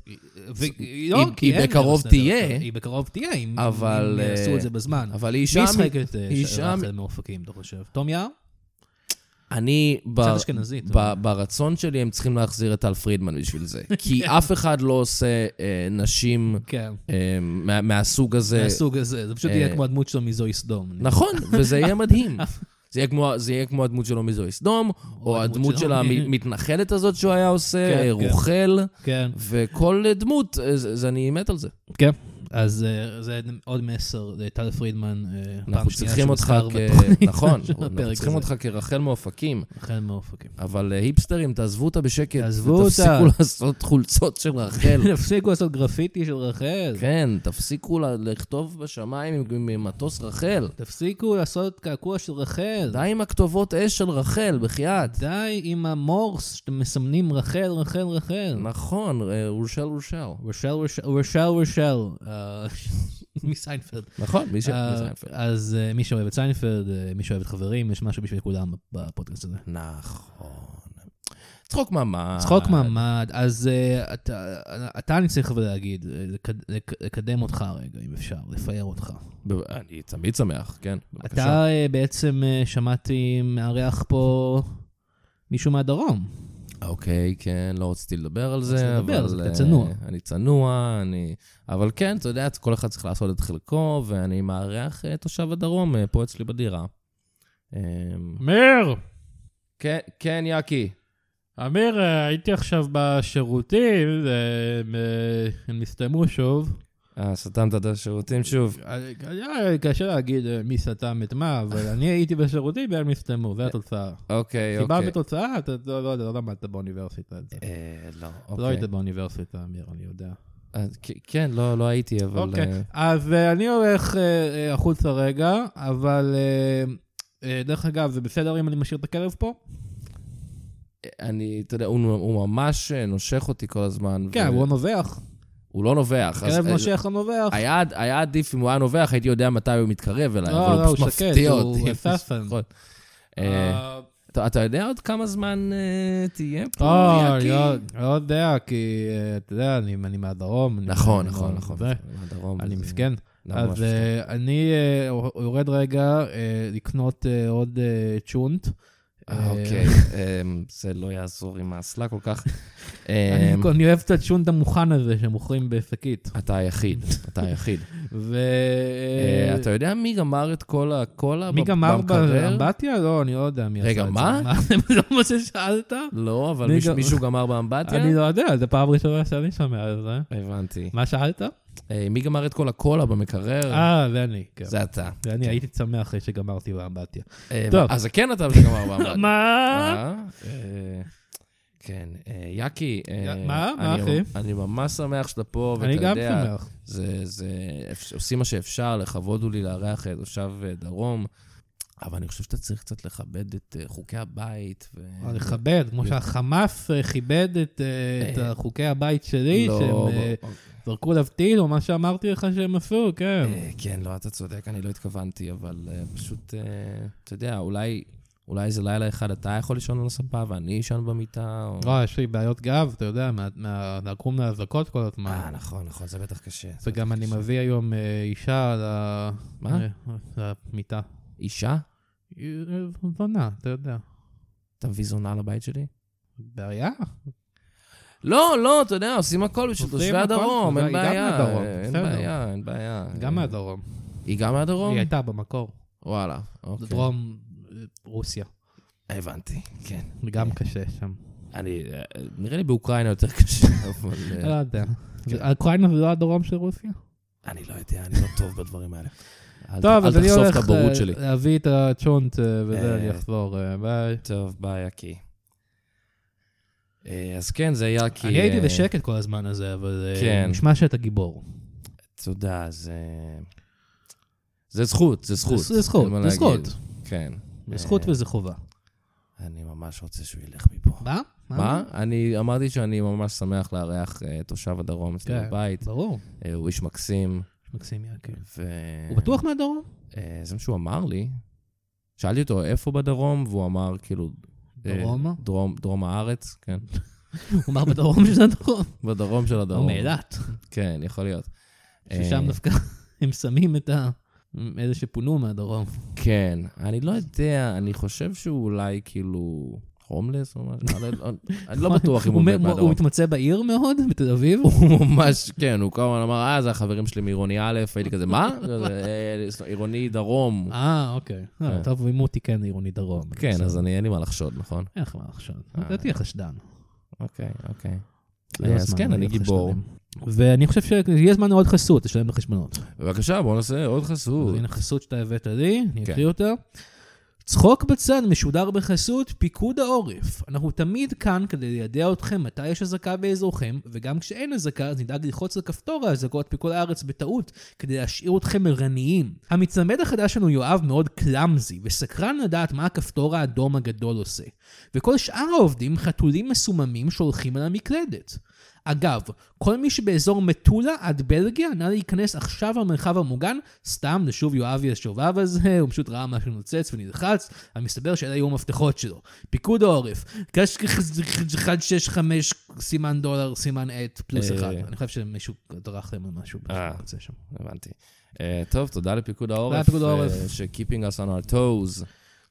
B: והיא לא,
A: היא-
B: כי
A: היא
B: אין
A: בקרוב
B: בסדר,
A: תהיה.
B: היא בקרוב תהיה, אם
A: אבל,
B: אם יעשו
A: אה,
B: את זה בזמן.
A: אבל היא שם...
B: מי ישחק את אה,
A: היא
B: ש-
A: שם-
B: רחל מאופקים, אתה חושב? תום יער?
A: אני, ב-
B: קצת אשכנזית.
A: ב- ברצון שלי, הם צריכים להחזיר את טל פרידמן בשביל זה. כי אף אחד לא עושה אה, נשים
B: כן,
A: אה, מה- מהסוג הזה.
B: מהסוג הזה. זה פשוט
A: אה,
B: יהיה כמו הדמות שלו מזוהי סדום.
A: נכון, וזה יהיה מדהים. זה יהיה, כמו, זה יהיה כמו הדמות שלו מזוהי סדום, נכון, או
B: הדמות
A: הדמות של
B: שלו.
A: המתנחלת הזאת שהוא היה עושה,
B: כן,
A: אה,
B: כן.
A: רוכל,
B: כן.
A: וכל דמות, אה, זה- זה- אני מת על זה.
B: כן. אז אה, זה עוד מסר לטל פרידמן, אה, פעם
A: אנחנו
B: שנייה
A: צריכים
B: שהוא
A: אותך
B: שר
A: כ...
B: בתוכנית
A: נכון,
B: של
A: אנחנו
B: הפרק
A: צריכים
B: הזה.
A: אותך כרחל מאופקים,
B: רחל מאופקים.
A: אבל אה, היפסטרים, תעזבו אותה בשקט.
B: תעזבו
A: ותפסיקו
B: אותה.
A: לעשות חולצות של רחל.
B: תפסיקו לעשות גרפיטי של רחל.
A: כן, תפסיקו ל- לכתוב בשמיים עם- עם עם מטוס רחל.
B: תפסיקו לעשות קעקוע של רחל.
A: די עם הכתובות אש של רחל, בחייאת.
B: די עם המורס שאתם מסמנים רחל, רחל, רחל.
A: נכון, אה, רושל רושל.
B: רשל, רשל, רשל, רשל. אה, מסיינפלד.
A: נכון, מי ש...
B: אה,
A: מי זה יפה.
B: אז אה, מי שאוהב את סיינפלד, אה, מי שאוהב את חברים, יש משהו בשביל כולם בפודקאסט הזה.
A: נכון. צחוק ממש.
B: צחוק
C: אה,
B: ממ"ד, אז אה, אתה- אתה אני צריך אבל להגיד, אה, לקד- לק- לקדם אותך רגע, אם אפשר, לפאר אותך.
A: ב- אני תמיד שמח, כן, בבקשה.
B: אתה אה, בעצם אה, שמעתי מארח פה מישהו מהדרום.
A: אוקיי, כן, לא רציתי לדבר על
B: רציתי
A: זה,
B: לדבר,
A: אבל...
B: אז אתה
A: אה,
B: צנוע.
A: אני צנוע, אני... אבל כן, אתה יודע, כל אחד צריך לעשות את חלקו, ואני מארח אה, תושב הדרום אה, פה אצלי בדירה. אה,
C: אמיר,
A: כן, כן, יקי.
C: אמיר, אה, הייתי עכשיו בשירותים, אה, הם, אה, הם נסתמו שוב.
A: אה, סתמת את השירותים שוב.
C: אה, היה קשה להגיד אה, מי סתם את מה, אבל אני הייתי בשירותים והם נסתמו, זו התוצאה.
B: אה,
A: אוקיי,
C: סיבה
A: אוקיי.
C: ותוצאה, אתה לא- לא יודע, לא למדת באוניברסיטה. את זה.
A: אה, לא,
C: לא
A: אוקיי.
C: היית באוניברסיטה, אמיר, אני יודע.
A: אז כ- כן, לא, לא הייתי, אבל...
B: אוקיי,
A: אה,
B: אז אה, אני הולך אה, אה, החוצה רגע, אבל אה, אה, דרך אגב, זה בסדר אם אני משאיר את הכלב פה?
A: אני, אתה יודע, הוא, הוא ממש אה, נושך אותי כל הזמן.
B: כן,
A: ו-
B: אבל הוא נובח.
A: הוא לא נובח. אז-
B: כלב נושך לא נובח.
A: היה, היה עדיף אם הוא היה נובח, הייתי יודע מתי הוא מתקרב אליי,
B: לא,
A: אבל הוא
B: לא,
A: פשוט
B: הוא שקט,
A: מפתיע
B: הוא
A: אותי.
B: אססן.
A: נכון. אה, אתה- אתה יודע עוד כמה זמן אה, תהיה פה,
B: אה,
A: יקי?
B: לא- לא יודע, כי אה, אתה יודע, אני אני מהדרום. אני-
A: נכון,
B: אני
A: נכון,
B: לא-
A: נכון.
B: זה.
A: מהדרום,
B: אני
A: זה-
B: מסכן.
A: לא, ממש
B: אז
A: מסכן.
B: אה, אני אה, יורד רגע אה, לקנות אה, עוד אה, צ'ונט.
A: אה,
B: אה,
A: אוקיי, אמ, זה לא יעזור עם האסלה כל כך.
B: אני-
A: אמ,
B: אני אוהב את הצ'ונט המוכן הזה שמוכרים בשקית.
A: אתה היחיד, אתה היחיד.
B: ו...
A: אה, אתה יודע מי גמר את כל הקולה
B: מי
A: במקרר?
B: גמר באמבטיה? לא, אני לא יודע מי עשה את זה.
A: רגע, מה?
B: זה לא מה ששאלת?
A: לא, אבל
B: מי
A: מישהו-
B: גמר?
A: מישהו גמר באמבטיה?
B: אני לא יודע, זו פעם ראשונה שאני שומע על זה.
A: הבנתי.
B: מה שאלת?
A: אה, מי גמר את כל הקולה במקרר?
B: אה, זה אני, כן.
A: זה אתה.
B: זה אני הייתי שמח אחרי שגמרתי באמבטיה.
A: אה,
B: טוב.
A: אז זה כן אתה שגמר באמבטיה.
B: מה?
A: אה, אה, כן, אה, יקי, אה,
B: יא- מה?
A: אני-
B: מה, אחי?
A: אני ממש שמח שאתה פה, ואתה
B: אני
A: אה, יודע...
B: גם שמח.
A: זה, זה, אפ- עושים מה שאפשר, לכבוד הוא לי לארח את תושב אה, דרום, אבל אני חושב שאתה צריך קצת לכבד את אה, חוקי הבית. ו...
B: אבל לכבד, כמו שהחמאס אה, כיבד את אה, את
A: אה.
B: חוקי הבית שלי,
A: לא,
B: שהם אה,
A: בוא-
B: זרקו עליו טיל, או מה שאמרתי לך שהם עשו, כן.
A: אה, כן, לא, אתה צודק, אני לא התכוונתי, אבל אה, פשוט, אה, אתה יודע, אולי... אולי איזה לילה אחד אתה יכול לישון על הספה ואני אשן במיטה, או...
B: לא, יש לי בעיות גב, אתה יודע, מה- מה- לקום מהאזעקות כל הזמן.
A: אה, נכון, נכון, זה בטח קשה. זה
B: וגם
A: בטח
B: אני
A: קשה.
B: מביא היום אה, אישה ל...
A: מה?
B: אה, למיטה.
A: אישה?
B: היא זונה, אתה יודע.
A: אתה מביא זונה לבית שלי?
B: בעיה?
A: לא, לא, אתה יודע, עושים הכל בשביל
B: עושים
A: תושבי
B: הכל,
A: הדרום,
B: תודה,
A: אין
B: היא גם
A: בעיה.
B: מהדרום,
A: אה, אין
B: בסדר.
A: בעיה, אין בעיה.
B: גם
A: אה,
B: מהדרום.
A: היא גם מהדרום?
B: היא הייתה במקור.
A: וואלה, אוקיי.
B: דרום אה, רוסיה.
A: הבנתי, כן.
B: גם קשה שם.
A: אני, אה, נראה לי באוקראינה יותר קשה, אבל...
B: לא
A: אה,
B: יודע. אוקראינה זה לא הדרום של רוסיה?
A: אני לא יודע, אני לא טוב בדברים האלה. אל-
B: טוב, אז אני
A: אל
B: הולך
A: תחשוף את הבורות
B: אה,
A: שלי.
B: להביא את הצ'ונט אה, וזה,
A: אה.
B: אני אחזור. אה, ביי.
A: טוב, ביי, יקי. אה, אז כן, זה יקי.
B: אני הייתי
A: אה,
B: בשקט כל הזמן הזה, אבל אה,
A: כן.
B: נשמע שאתה גיבור.
A: תודה, זה... זה זכות, זה זכות.
B: זה זכות,
A: אין מה
B: זה
A: להגיד.
B: זכות.
A: כן.
B: זה זכות
A: אה,
B: וזה חובה.
A: אני ממש רוצה שהוא ילך מפה.
B: מה?
A: מה? אני אמרתי שאני ממש שמח לארח אה, תושב הדרום אצלי
B: כן.
A: בבית.
B: ברור.
A: אה, הוא איש מקסים,
B: מקסים יקי.
A: ו...
B: הוא בטוח מהדרום?
A: אה, זה מה שהוא אמר לי. שאלתי אותו איפה בדרום, והוא אמר כאילו... אה,
B: דרומה?
A: דרום, דרום הארץ, כן.
B: הוא אמר בדרום שזה הדרום.
A: בדרום של הדרום.
B: או מאילת.
A: כן, יכול להיות.
B: ששם
A: אה,
B: דווקא הם שמים את ה... אלה שפונו מהדרום.
A: כן, אני לא יודע, אני חושב שהוא אולי כאילו הומלס או משהו, אני לא- אני לא בטוח אם הוא
B: מ-
A: באמת
B: הוא
A: מהדרום.
B: מתמצא בעיר מאוד, בתל אביב.
A: הוא ממש, כן, הוא כל הזמן אמר, אה, זה החברים שלי מעירוני א', הייתי כזה, מה? כזה, "אה, עירוני דרום.
B: אה, אוקיי. לא,
A: כן.
B: טוב, אם אותי כן עירוני דרום.
A: כן,
B: בסדר.
A: אז אני, אין לי מה לחשוד, נכון?
B: אין לך מה עכשיו.
A: אה.
B: אתה תהיה חשדן.
A: אוקיי, אוקיי.
B: לא
A: אז
B: הזמן
A: כן, אני
B: להיות
A: גיבור.
B: חשדנים. ואני חושב שיהיה זמן לעוד חסות, תשלם לחשבונות.
A: בבקשה, בואו נעשה עוד
B: אז
A: חסות.
B: הנה חסות שאתה הבאת לי, אני
A: כן.
B: אקריא אותה. צחוק בצד משודר בחסות פיקוד העורף. אנחנו תמיד כאן כדי לידע אתכם מתי יש אזעקה באזורכם, וגם כשאין אזעקה אז נדאג ללחוץ על כפתור האזעקות פיקוד הארץ בטעות, כדי להשאיר אתכם ערניים. המצמד החדש שלנו יואב מאוד קלאמזי, וסקרן לדעת מה הכפתור האדום הגדול עושה. וכל שאר העובדים חתולים מסוממים שהולכים על המקלדת. אגב, כל מי שבאזור מטולה עד בלגיה, נא להיכנס עכשיו למרחב המוגן, סתם לשוב יואבי השובב הזה, הוא פשוט ראה משהו נוצץ ונלחץ, אבל מסתבר שאלה היו המפתחות שלו. פיקוד העורף, קש 165 סימן דולר, סימן עט, פלוס
A: אה.
B: אחד. אני חושב שמישהו דרך להם על משהו,
A: אה.
B: בקצה שם.
A: הבנתי. אה, טוב, תודה לפיקוד העורף.
B: תודה לפיקוד העורף.
A: אה, ש-keeping us on our toes.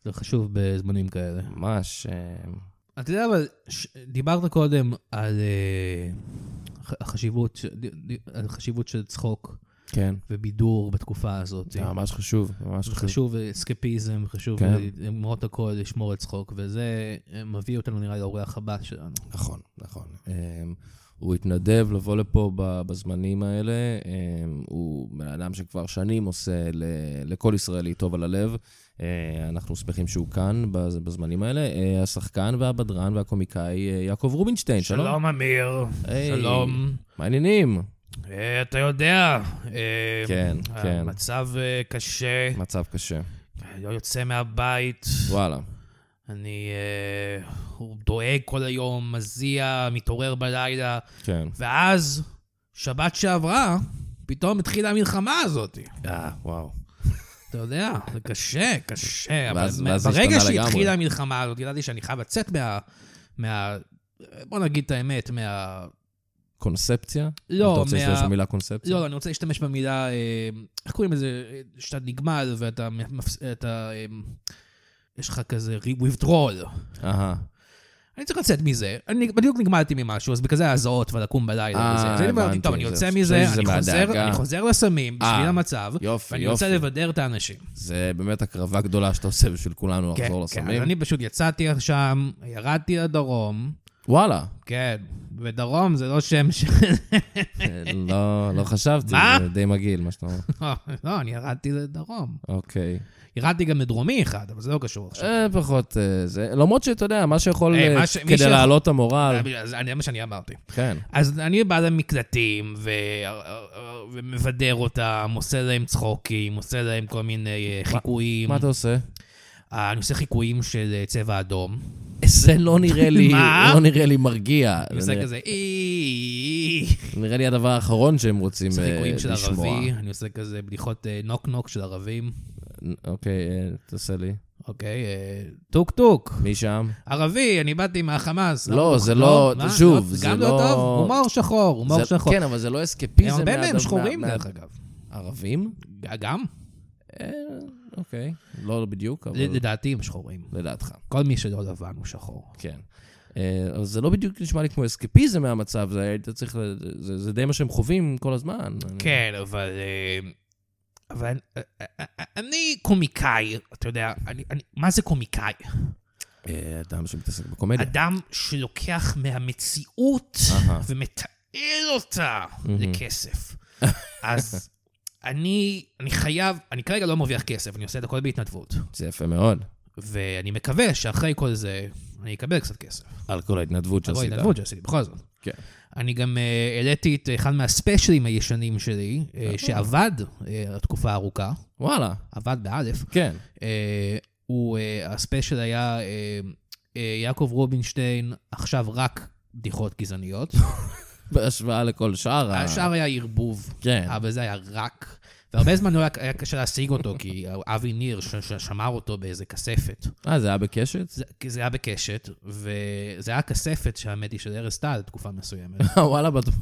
B: זה חשוב בזמנים כאלה.
A: ממש. אה,
B: אתה יודע, אבל ש... דיברת קודם על אה, הח- החשיבות, ש- ד- ד- על החשיבות של צחוק
A: כן.
B: ובידור בתקופה הזאת.
A: זה ממש חשוב, אה, ממש חשוב.
B: חשוב אסקפיזם, חשוב אה,
A: כן.
B: למרות הכל לשמור על צחוק, וזה אה, מביא אותנו נראה לאורח הבא שלנו.
A: נכון, נכון. אמ, הוא התנדב לבוא לפה ב- בזמנים האלה. אמ, הוא בן אדם שכבר שנים עושה ל- לכל ישראלי טוב על הלב. אה, אנחנו שמחים שהוא כאן בז- בזמנים האלה. אה, השחקן והבדרן והקומיקאי אה, יעקב רובינשטיין, שלום.
B: אמיר,
A: היי, מעניינים.
B: אה, אתה יודע, אה,
A: כן, כן.
B: המצב אה, קשה,
A: מצב קשה.
B: לא יוצא מהבית,
A: וואלה.
B: אני אה, דואג כל היום, מזיע, מתעורר בלילה,
A: כן.
B: ואז, שבת שעברה, פתאום התחילה המלחמה הזאת.
A: אה, וואו.
B: אתה יודע, זה קשה, קשה, אבל
A: ואז-
B: מה-
A: ואז זה
B: ברגע
A: השתנה לגמרי.
B: שהתחילה המלחמה הזאת, ידעתי שאני חייב לצאת מה... מה... בוא נגיד את האמת, מה...
A: קונספציה?
B: לא,
A: אתה רוצה
B: מה-
A: להשתמש במילה קונספציה?
B: לא, לא, אני רוצה להשתמש במילה, אה, איך קוראים לזה, אה, שאתה נגמל ואתה, מפס- אתה, אה, יש לך כזה re- withdrawal.
A: אהה.
B: אני צריך לצאת מזה, אני בדיוק נגמלתי ממשהו, אז בגלל זה הזעות והלקום
A: אה,
B: בלילה וזה. אז אני אמרתי,
A: הבנתי,
B: טוב, אני
A: זה-
B: יוצא
A: זה-
B: מזה,
A: זה
B: אני
A: מהדאגה."
B: חוזר, אני חוזר לסמים בשביל
A: אה,
B: המצב,
A: יופי,
B: ואני
A: יופי.
B: רוצה לבדר את האנשים.
A: זה באמת הקרבה גדולה שאתה עושה בשביל כולנו
B: כן,
A: לחזור
B: כן,
A: לסמים.
B: אז אני פשוט יצאתי שם, ירדתי לדרום,
A: וואלה.
B: כן, ודרום זה לא שם של...
A: אה, לא, לא חשבתי,
B: מה?
A: זה די מגעיל, מה שאתה אומר.
B: לא, לא, אני ירדתי לדרום.
A: אוקיי.
B: ירדתי גם לדרומי אחד, אבל זה לא קשור עכשיו.
A: אה, פחות אה, זה. למרות שאתה יודע, מה שיכול
B: אה,
A: אה,
B: מה ש- מי
A: כדי
B: שיכול-
A: להעלות את המורל.
B: אז זה מה שאני אמרתי.
A: כן.
B: אז אני בא למקלטים, ו- ומבדר אותם, עושה להם צחוקים, עושה להם כל מיני אה, חיקויים.
A: מה אתה עושה?
B: אה, אני עושה חיקויים של אה, צבע אדום.
A: זה לא נראה לי,
B: מה?
A: לא נראה לי מרגיע.
B: אני
A: זה
B: עושה
A: נראה-
B: כזה אי...
A: נראה לי הדבר האחרון שהם רוצים
B: עושה
A: אה,
B: חיקויים של
A: לשמוע.
B: ערבי, אני עושה כזה בדיחות אה, נוק נוק של ערבים.
A: אוקיי, אה, תעשה לי.
B: אוקיי, אה, טוק טוק.
A: מי שם?
B: ערבי, אני באתי מהחמאס.
A: לא, זה לא-
B: מה?
A: שוב, זה
B: גם
A: לא-
B: לא טוב, הומור שחור, הומור
A: זה-
B: שחור.
A: כן, אבל זה לא אסקפיזם.
B: הרבה
A: מהאדם-
B: מהם שחורים,
A: מה-
B: דרך אגב.
A: ערבים?
B: גם,
A: אה, אוקיי. לא בדיוק, אבל
B: לדעתי הם שחורים.
A: לדעתך.
B: כל מי שלא לבן הוא שחור.
A: כן. אה, אבל זה לא בדיוק נשמע לי כמו אסקפיזם מהמצב, זה היית צריך, ל- זה זה די מה שהם חווים כל הזמן. אני-
B: כן, אבל... אה, אבל אה, אה, אה, אני קומיקאי, אתה יודע, אני- אני- מה זה קומיקאי?
A: אה, אדם שמתעסק בקומדיה.
B: אדם שלוקח מהמציאות
A: אהה.
B: ומתעל אותה
A: מהמם.
B: לכסף. אז אני אני חייב, אני כרגע לא מרוויח כסף, אני עושה את הכל בהתנדבות.
A: זה יפה מאוד.
B: ואני מקווה שאחרי כל זה אני אקבל קצת כסף.
A: על כל ההתנדבות
B: אבל
A: שעשית.
B: התנדבות שעשיתי, בכל זאת.
A: כן.
B: אני גם אה, העליתי את אחד מהספיישלים הישנים שלי, אה, שעבד אה, תקופה ארוכה,
A: וואלה,
B: עבד באלף.
A: כן.
B: אה, הוא, אה, הספיישל היה אה, אה, יעקב רובינשטיין, עכשיו רק בדיחות גזעניות.
A: בהשוואה לכל שאר ה...
B: השאר היה ערבוב,
A: אה. כן.
B: אבל זה היה רק. והרבה זמן הוא היה- היה קשה להשיג אותו, כי אבי ניר ש- ש- שמר אותו באיזה כספת.
A: אה, זה היה בקשת?
B: זה- כי זה היה בקשת, וזה היה כספת, שהאמת היא, של ארז טל תקופה מסוימת.
A: וואלה, בטוח.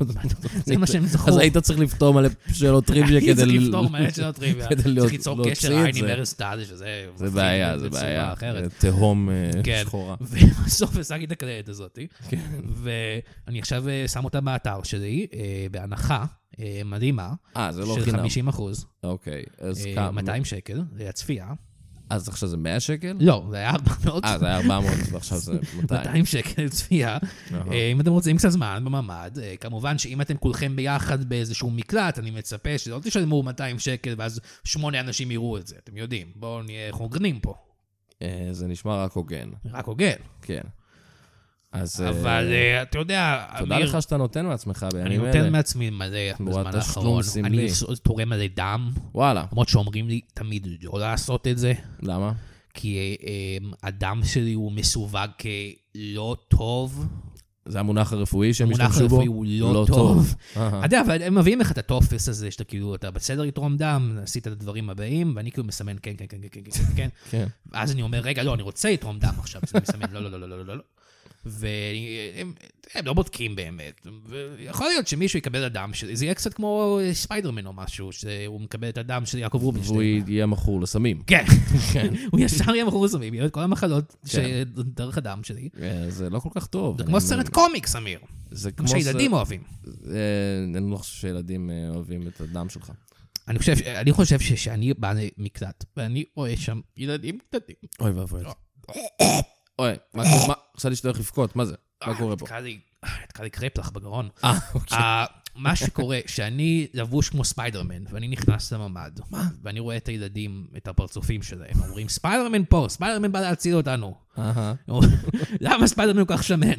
B: זה מה שהם זכרו.
A: אז היית צריך לפתור מלא שאלות טריוויה
B: אני
A: כדי...
B: צריך
A: ל-
B: לפתור מהר שלא טריוויה.
A: כדי להיות-
B: צריך ליצור
A: להוציא
B: קשר
A: את
B: עין
A: זה.
B: עם ארז טל, שזה...
A: זה
B: מפחיד
A: בעיה, זה
B: בצורה
A: בעיה.
B: אחרת.
A: זה תהום אה,
B: כן.
A: שחורה.
B: ובסוף השגתי את הקלטת הזאת,
A: כן.
B: ואני עכשיו אה, שם אותה באתר שלי, אה, בהנחה אה, מדהימה,
A: אה, זה לא
B: של
A: חינם.
B: 50 אחוז,
A: אוקיי, אז
B: אה,
A: כמה?
B: 200 שקל, זה הצפייה.
A: אז עכשיו זה 100 שקל?
B: לא, זה היה 400,
A: אה, זה היה 400, ועכשיו זה נכון. 200.
B: 200 שקל צפייה.
A: אהה.
B: אה, אם אתם רוצים קצת זמן בממ"ד, אה, כמובן שאם אתם כולכם ביחד באיזשהו מקלט, אני מצפה שלא תשלמו 200 שקל ואז שמונה אנשים יראו את זה, אתם יודעים. בואו נהיה חוגרנים פה,
A: אה, זה נשמע רק הוגן,
B: רק הוגן.
A: כן. אז... אה,
B: אבל אה, אתה יודע,
A: תודה
B: אמיר,
A: לך שאתה נותן מעצמך
B: אני
A: בימים אלה.
B: נותן מעצמי מלא
A: תמורת
B: בזמן
A: תשלום
B: האחרון. אני
A: סמלי.
B: ס- תורם מלא דם,
A: וואלה,
B: למרות שאומרים לי תמיד לא לעשות את זה,
A: למה?
B: כי אה, אה, הדם שלי הוא מסווג כלא טוב.
A: זה המונח הרפואי שהם
B: המונח
A: השתמשו בו?
B: הרפואי הוא לא טוב.
A: אהה.
B: אתה יודע, אבל הם מביאים לך את הטופס הזה, שאתה כאילו, אתה בסדר לתרום דם, עשית את הדברים הבאים, ואני כאילו מסמן כן, כן, כן, כן, כן, כן, כן, כן.
A: כן.
B: ואז אני אומר, רגע, לא, אני רוצה לתרום דם עכשיו, אז אני מסמן, לא, לא, לא, לא, לא, לא, לא. והם הם לא בודקים באמת. יכול להיות שמישהו יקבל את הדם שלי, זה יהיה קצת כמו אה, ספיידרמן או משהו, שהוא מקבל את הדם של יעקב
A: והוא
B: רובינשטיין.
A: יהיה מכור לסמים.
B: כן, הוא ישר יהיה מכור לסמים, יהיה לו את כל המחלות שדרך הדם שלי.
A: אה, זה לא כל כך טוב.
B: זה
A: אני
B: כמו
A: אומר,
B: סרט קומיקס, אמיר,
A: זה כמו
B: כמו שילדים אוהבים.
A: אה, אני לא חושב שילדים אה, אוהבים את הדם שלך.
B: אני חושב, אני חושב שכשאני בא למקלט, ואני רואה שם ילדים קטנים.
A: אוי ואבוי. אוי, מה
B: אה,
A: קורה? מה? עכשיו אשתו הולך לבכות, מה זה? מה קורה פה?
B: נתקע לי- נתקע לי קרפלח בגרון.
A: אה, אוקיי.
B: אה, מה שקורה, שאני לבוש כמו ספיידרמן, ואני נכנס לממ"ד, ואני רואה את הילדים, את הפרצופים שלהם, אומרים, ספיידרמן פה, ספיידרמן בא להציל אותנו.
A: אהה.
B: למה ספיידרמן כל כך שמן?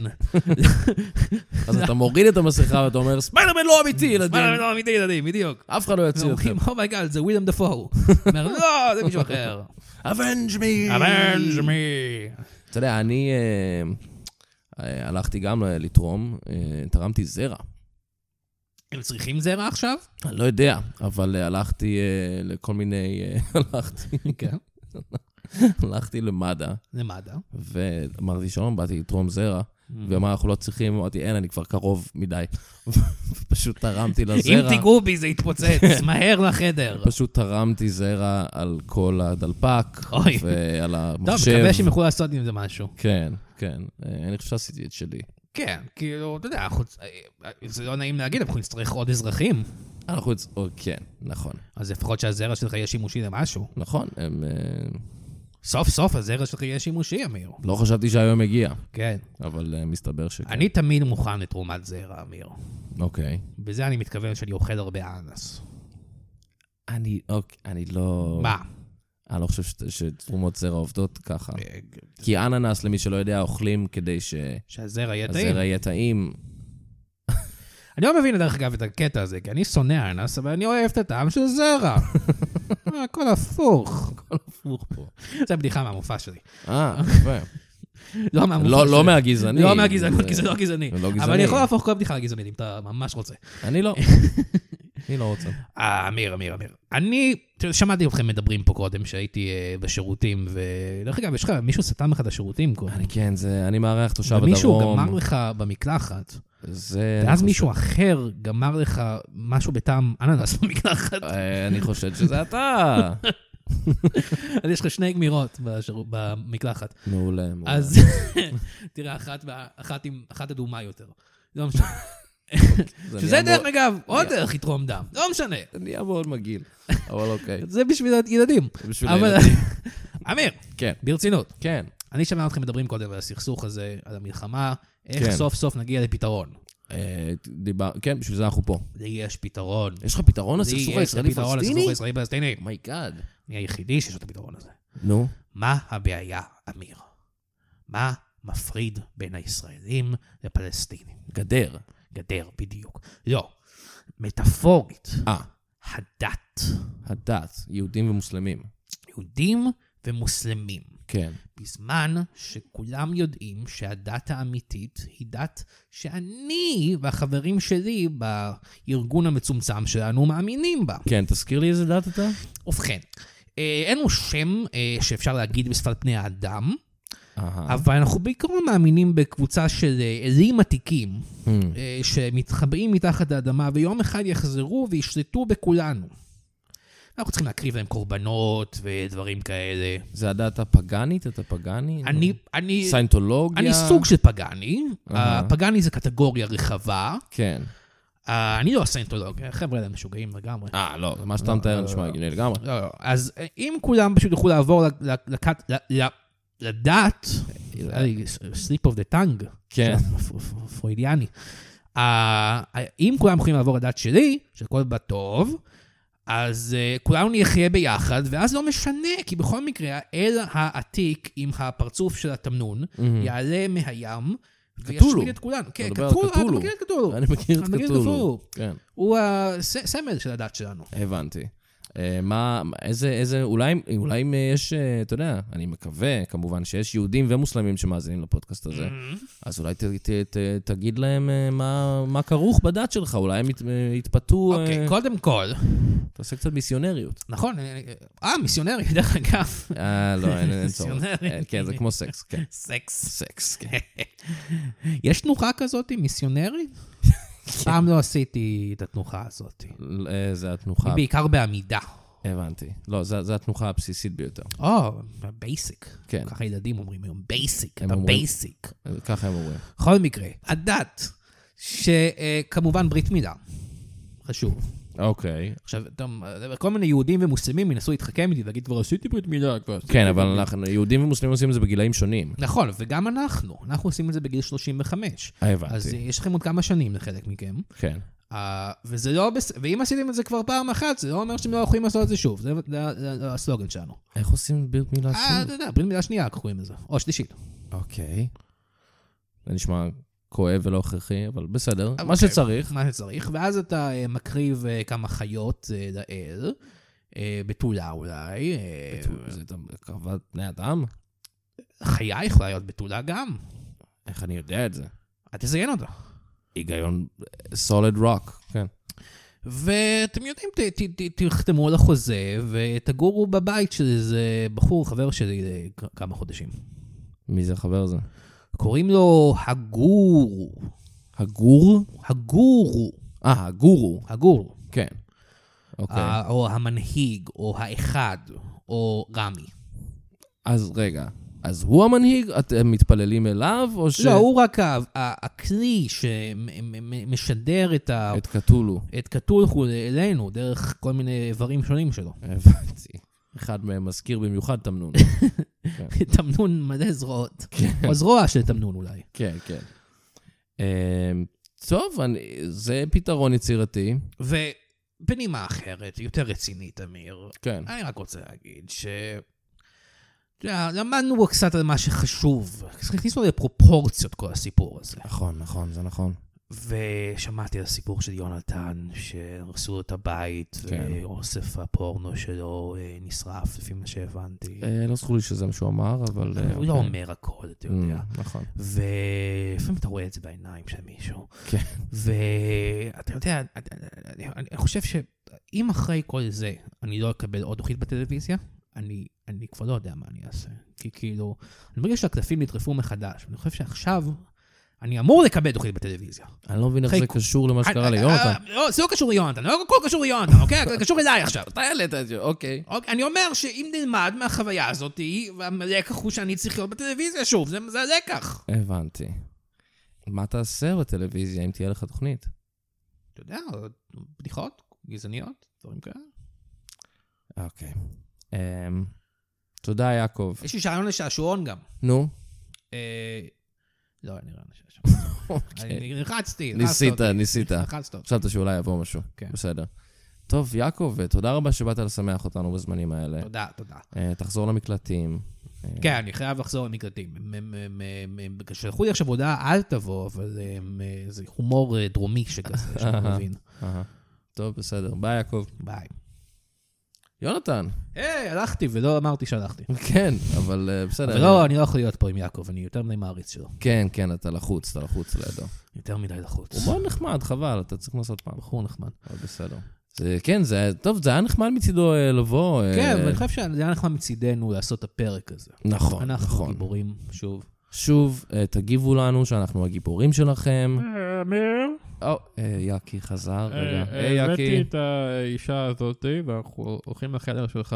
A: אז אתה מוריד את המסכה ואתה אומר, ספיידרמן לא אמיתי, ילדים.
B: ספיידרמן לא אמיתי, ילדים, בדיוק.
A: אף אחד לא יציל אתכם.
B: ואומרים, אומייגאד, זה וויליאם דפו. אומר, לא, זה מישהו אחר.
A: אבנג' מי.
C: אבנג' מי.
A: אתה יודע, אני אה, אה, הלכתי גם ל- לתרום, אה, תרמתי זרע.
B: הם צריכים זרע עכשיו?
A: אני לא יודע, אבל אה, הלכתי אה, לכל מיני... אה, הלכתי,
B: כן.
A: הלכתי למד"א,
B: למד"א.
A: ואמרתי, שלום, באתי לתרום זרע. ואמר, אנחנו לא צריכים, אמרתי, אין, אני כבר קרוב מדי. פשוט תרמתי
B: אם
A: לזרע.
B: תיגעו בי זה יתפוצץ, מהר לחדר.
A: פשוט תרמתי זרע על כל הדלפק,
B: אוי.
A: ועל
B: טוב,
A: המחשב.
B: מקווה שהם יוכלו לעשות עם זה משהו.
A: כן, כן. אה, אני חושב שעשיתי את שלי.
B: כן, כאילו, אתה יודע, אנחנו- אה, אה, זה לא נעים להגיד, אבל אנחנו נצטרך עוד אזרחים.
A: אנחנו... יצ- או, כן, נכון.
B: אז לפחות שהזרע שלך יהיה שימושי למשהו.
A: נכון, הם... אה,
B: סוף סוף הזרע שלך יהיה שימושי, אמיר.
A: לא חשבתי שהיום הגיע,
B: כן.
A: אבל אה, מסתבר שכן.
B: אני תמיד מוכן לתרומת זרע, אמיר.
A: אוקיי.
B: בזה אני מתכוון שאני אוכל הרבה אנס.
A: אני, אוקיי, אני לא...
B: מה?
A: אני לא חושב שת- שתרומות זרע עובדות ככה.
B: אה,
A: כי אננס, למי שלא יודע, אוכלים כדי שהזרע
B: שהזרע יהיה טעים.
A: יהיה טעים.
B: אני לא מבין, דרך אגב, את הקטע הזה, כי אני שונא אנס, אבל אני אוהב את הטעם של זרע. אה, הכל הפוך.
A: הפוך פה.
B: זו בדיחה מהמופע שלי.
A: אה, יפה.
B: לא מהמופע
A: לא
B: שלי.
A: לא מהגזעני.
B: לא מהגזענות, כי זה לא גזעני.
A: זה לא
B: אבל אני
A: גזעני.
B: יכול להפוך כל בדיחה לגזענית, אם אתה ממש רוצה.
A: אני לא. אני לא רוצה.
B: אה, אמיר, אמיר, אמיר. אני תראה, שמעתי אתכם מדברים פה קודם, שהייתי אה, בשירותים, ודרך אגב, יש לך, מישהו סתם לך את השירותים קודם.
A: אני כן, זה... אני מארח תושב הדרום.
B: ומישהו גמר לך במקלחת,
A: זה...
B: ואז
A: אני
B: מישהו אחר גמר לך משהו בטעם אננס במקלחת,
A: חושב- אה, אני חושב שזה אתה.
B: אז יש לך שני גמירות בשיר- במקלחת.
A: מעולה, מעולה.
B: אז תראה, אחת וה- אחת עם- אחת אדומה יותר. לא משנה.
A: זה
B: שזה
A: נהיה
B: דרך
A: מאוד-
B: אגב, עוד דרך לתרום דם, לא משנה.
A: זה נהיה מאוד מגעיל, אבל אוקיי.
B: זה בשביל הילדים.
A: בשביל
B: אבל-
A: הילדים.
B: אמיר,
A: כן,
B: ברצינות.
A: כן.
B: אני שומע אתכם מדברים קודם על הסכסוך הזה, על המלחמה, איך
A: כן.
B: סוף סוף נגיע לפתרון.
A: אה, דיבר... כן, בשביל זה אנחנו פה.
B: לי יש פתרון.
A: יש לך פתרון
B: לי
A: לסכסוך Oh
B: יש את הפתרון
A: הישראלי-פלסטיני?
B: לסכסוך הישראלי-פלסטיני.
A: מייגאד.
B: אני היחידי שיש לו את הפתרון הזה.
A: נו.
B: מה הבעיה, אמיר? מה מפריד בין הישראלים לפלסטינים?
A: גדר.
B: גדר, בדיוק. לא. מטאפורית,
A: אה,
B: הדת.
A: הדת, יהודים ומוסלמים.
B: יהודים ומוסלמים.
A: כן.
B: בזמן שכולם יודעים שהדת האמיתית היא דת שאני והחברים שלי בארגון המצומצם שלנו מאמינים בה.
A: כן, תזכיר לי איזה דת אתה?
B: ובכן, אה, אין לו שם אה, שאפשר להגיד בשפת פני האדם,
A: אהה.
B: אבל אנחנו בעיקרון מאמינים בקבוצה של אה, אלים עתיקים,
A: Hmm.
B: אה, שמתחבאים מתחת לאדמה, ויום אחד יחזרו וישלטו בכולנו. אנחנו צריכים להקריב להם קורבנות ודברים כאלה.
A: זה הדת הפגאנית? אתה פגאני?
B: אני, אני,
A: סיינטולוגיה?
B: אני סוג של פגאני.
A: אהה.
B: אה, פגאני זה קטגוריה רחבה.
A: כן.
B: אה, אני לא הסיינטולוג, החבר'ה האלה משוגעים לגמרי.
A: אה, לא, מה שאתה מתאר נשמע הגיוני לגמרי.
B: לא, לא. אז אה, אם כולם פשוט יוכלו לעבור ל- ל- לכת- ל- ל- לדת, אה, סליפ אוף דה טאנג,
A: כן.
B: אה, פרוידיאני, אה, אם כולם יכולים לעבור לדת שלי, שהכל בא טוב, אז אה, כולנו נחיה ביחד, ואז לא משנה, כי בכל מקרה, האל העתיק עם הפרצוף של התמנון יעלה מהים וישמיד את כולנו. כן,
A: Hmm. מדבר על
B: קטולו, אה, אתה
A: קטולו.
B: מכיר את קטולו.
A: אני מכיר את
B: אני מכיר את
A: קטולו.
B: קטולו.
A: כן,
B: הוא הסמל של הדת שלנו.
A: הבנתי. אה, מה, מה- איזה, איזה, אולי, אולי אם יש, אה, אתה יודע, אני מקווה, כמובן, שיש יהודים ומוסלמים שמאזינים לפודקאסט הזה, אז אולי ת, ת, ת, תגיד להם אה, מה, מה כרוך בדת שלך, אולי הם ית, אה, יתפתו, אה,
B: אוקיי, קודם כל,
A: תעשה קצת מיסיונריות.
B: נכון, אה, אה, מיסיונרי, דרך אגב,
A: אה, לא, אין אין צורך.
B: מיסיונרית.
A: אה, כן, זה כמו סקס, כן.
B: סקס.
A: סקס, כן.
B: יש תנוחה כזאת, מיסיונרי?
A: כן.
B: פעם לא עשיתי את התנוחה הזאת. היא
A: אה, זה התנוחה,
B: בעיקר בעמידה.
A: הבנתי. לא, זה זה התנוחה הבסיסית ביותר.
B: או, בייסיק.
A: כן.
B: ככה ילדים אומרים היום, בייסיק,
A: הם
B: אתה
A: אומרים-
B: בייסיק.
A: אה, ככה הם אומרים.
B: בכל מקרה, הדת, שכמובן ברית מילה, חשוב.
A: אוקיי.
B: עכשיו, אתה- כל מיני יהודים ומוסלמים ינסו להתחכם איתי ולהגיד, כבר עשיתי ברית מילה, כבר עשיתי
A: כן,
B: ברית
A: אבל
B: מילה."
A: אנחנו, יהודים ומוסלמים עושים את זה בגילאים שונים.
B: נכון, וגם אנחנו, אנחנו עושים את זה בגיל 35.
A: הבנתי.
B: אה, אז אה, יש לכם עוד כמה שנים לחלק מכם.
A: כן.
B: אה, אה, וזה לא בס... ואם עשיתם את זה כבר פעם אחת, זה לא אומר שאתם לא יכולים לעשות את זה שוב. זה, זה, זה, זה הסלוגן שלנו.
A: איך עושים ברית מילה
B: אה,
A: שנייה?
B: אתה יודע, ברית מילה שנייה, איך קוראים לזה. או שלישית.
A: אוקיי. זה נשמע כואב ולא הכרחי, אבל בסדר. מה
B: אוקיי.
A: שצריך.
B: מה שצריך, ואז אתה אה, מקריב אה, כמה חיות אה, לאל, אה, בתולה אולי. אה,
A: זה הקרבת בני אדם?
B: חיה יכולה להיות בתולה גם.
A: איך אני יודע את זה?
B: אל תזיין אותה.
A: היגיון אה, סוליד רוק. כן.
B: ואתם יודעים, ת, ת, ת, תחתמו על החוזה ותגורו בבית של איזה בחור, חבר שלי, לכ- כמה חודשים.
A: מי זה החבר הזה?
B: קוראים לו הגורו.
A: הגור?
B: הגורו.
A: אה, הגורו.
B: הגורו.
A: כן. אוקיי.
B: ה- או המנהיג, או האחד, או רמי.
A: אז רגע. אז הוא המנהיג? אתם מתפללים אליו? או ש...
B: לא, הוא רק ה- ה- הכלי שמשדר את ה...
A: את קטולו.
B: את קטולחו אלינו, דרך כל מיני איברים שונים שלו.
A: הבנתי. אחד מהם מזכיר במיוחד תמנון.
B: תמנון מלא זרועות. או זרוע של תמנון אולי.
A: כן, כן. אמ, טוב, אני- זה פתרון יצירתי.
B: ובנימה אחרת, יותר רצינית, אמיר,
A: כן.
B: אני רק רוצה להגיד ש... אתה יודע, למדנו בו קצת על מה שחשוב. הכניסו לפרופורציות כל הסיפור הזה.
A: נכון, נכון, זה נכון.
B: ושמעתי על הסיפור של יונתן, שהרסו לו את הבית,
A: כן.
B: ואוסף הפורנו שלו אה, נשרף, לפי מה שהבנתי.
A: אה, לא זכור לי שזה מה שהוא אמר, אבל... אה,
B: הוא לא
A: אוקיי.
B: אומר הכל, אתה יודע.
A: אמ, נכון.
B: ולפעמים אתה רואה את זה בעיניים של מישהו.
A: כן.
B: ואתה יודע, אני, אני, אני חושב שאם אחרי כל זה אני לא אקבל עוד אוכלית בטלוויזיה, אני, אני כבר לא יודע מה אני אעשה. כי כאילו, אני מרגיש שהקלפים נטרפו מחדש, ואני חושב שעכשיו אני אמור לקבל אוכלית בטלוויזיה.
A: אני לא מבין איך
B: אחרי
A: זה
B: כל-
A: קשור למה שקרה
B: אני-
A: ליונתן.
B: אה, לא, זה לא קשור ליונתן, לא הכל קשור ליונתן, אוקיי? זה קשור אליי עכשיו.
A: אתה העלית את זה, אוקיי.
B: אוקיי, אני אומר שאם נלמד מהחוויה הזאת, הלקח הוא שאני צריך להיות בטלוויזיה שוב, זה, זה הלקח.
A: הבנתי. מה תעשה בטלוויזיה אם תהיה לך תוכנית?
B: אתה יודע, בדיחות גזעניות, דברים כאלה.
A: אוקיי. אמ, תודה, יעקב.
B: יש לי שעון לשעשועון גם.
A: נו.
B: אה, לא, אני רעיון לשעשועון.
A: אוקיי.
B: אני רחצתי, רחצת
A: ניסית,
B: אותי.
A: ניסית.
B: רחצת אותי.
A: חשבת שאולי יבוא משהו.
B: כן.
A: בסדר. טוב, יעקב, תודה רבה שבאת לשמח אותנו בזמנים האלה.
B: תודה, תודה.
A: אה, תחזור למקלטים. אה,
B: כן, אני חייב לחזור למקלטים. הם- הם- הם- הם- הם- שלחו לי עכשיו הודעה, אל תבוא, אבל הם, אה, זה הומור אה, דרומי שכזה, שאני לא מבין.
A: אהה. טוב, בסדר. ביי, יעקב.
B: ביי.
A: יונתן.
B: היי, הלכתי ולא אמרתי שהלכתי.
A: כן, אבל אה, בסדר.
B: אבל לא, אני לא יכול להיות פה עם יעקב, אני יותר מדי מעריץ שלו.
A: כן, כן, אתה לחוץ, אתה לחוץ לידו.
B: יותר מדי לחוץ.
A: הוא מאוד נחמד, חבל, אתה צריך לנסות פעם.
B: בחור נחמד.
A: אבל בסדר. זה- כן, זה היה, טוב, זה היה נחמד מצידו אה, לבוא. אה,
B: כן, אבל אני חושב שזה היה נחמד מצידנו לעשות את הפרק הזה.
A: נכון,
B: אנחנו
A: נכון.
B: גיבורים, שוב.
A: שוב, אה, תגיבו לנו שאנחנו הגיבורים שלכם.
D: אה, אמיר,
A: או, אה, יאקי חזר, רגע.
C: אה,
A: היי,
C: הבאתי
A: יאקי.
C: את האישה הזאת, ואנחנו הולכים לחדר שלך.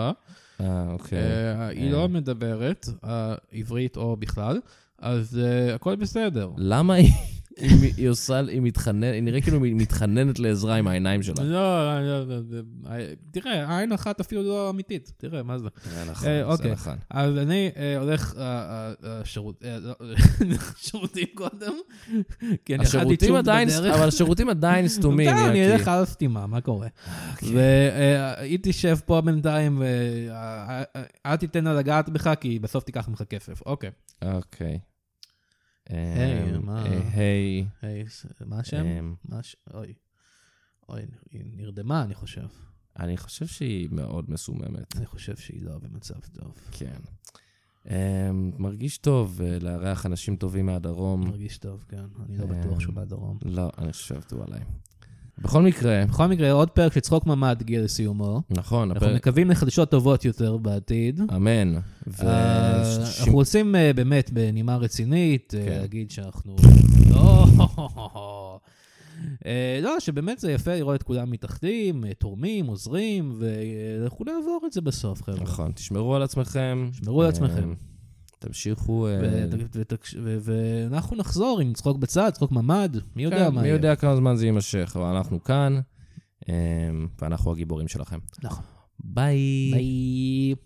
A: אה, אוקיי.
C: אה, היא לא מדברת אה, עברית או בכלל, אז אה, הכל בסדר.
A: למה היא... היא- היא עושה, היא מתחננת, היא נראית כאילו היא מתחננת לעזרה עם העיניים שלה.
C: לא, לא, לא, זה- אה, תראה, עין אחת אפילו לא אמיתית, תראה, מה זה?
A: אה, נכון, זה
C: אה, אוקיי.
A: נכון.
C: אז אני אה, הולך אה, אה, אה, שירות- אה, לא, שירותים קודם, כי אני אכלתי
A: השירותים
C: צ'וב
A: עדיין,
C: בדרך.
A: אבל השירותים עדיין סתומים,
C: בסדר,
B: אה,
C: אני
A: יאקי.
C: אלך על סתימה, מה קורה?
A: אה, כן.
C: והיא תשב פה בינתיים,
B: אה,
C: ואל תיתן לה לגעת בך, כי בסוף תיקח ממך כסף. אוקיי.
A: אוקיי.
B: היי,
A: אמ,
B: מה?
A: אה, היי,
B: היי, ס- מה השם?
A: אמ,
B: מה הש... אוי. אוי, היא נרדמה, אני חושב.
A: אני חושב שהיא מאוד מסוממת,
B: אני חושב שהיא לא במצב טוב.
A: כן. אמ, מרגיש טוב אה, לארח אנשים טובים מהדרום.
B: מרגיש טוב, כן. אני
A: אה.
B: לא בטוח שהוא בדרום.
A: לא, אני חושב שעבדו עליי. בכל מקרה,
B: בכל מקרה, עוד פרק של צחוק ממ"ד הגיע לסיומו.
A: נכון,
B: אנחנו
A: הפרק,
B: מקווים לחדשות טובות יותר בעתיד.
A: אמן. ו-
B: אה,
A: ש-
B: אנחנו רוצים אה, באמת, בנימה רצינית, אה,
A: כן.
B: להגיד שאנחנו... לא, אה, לא, שבאמת זה יפה לראות את כולם מתאחדים, אה, תורמים, עוזרים, ואנחנו נעבור את זה בסוף, חבר'ה.
A: נכון, תשמרו על עצמכם.
B: תשמרו על
A: אמ,
B: עצמכם.
A: תמשיכו... אה,
B: ות- ותקש- ו- ואנחנו נחזור עם צחוק בצד, צחוק ממ"ד, מי
A: כן,
B: יודע מה
A: מי
B: יהיה.
A: יודע כמה זמן זה יימשך, אבל אנחנו כאן, אמ, ואנחנו הגיבורים שלכם.
B: נכון.
A: ביי.
B: ביי.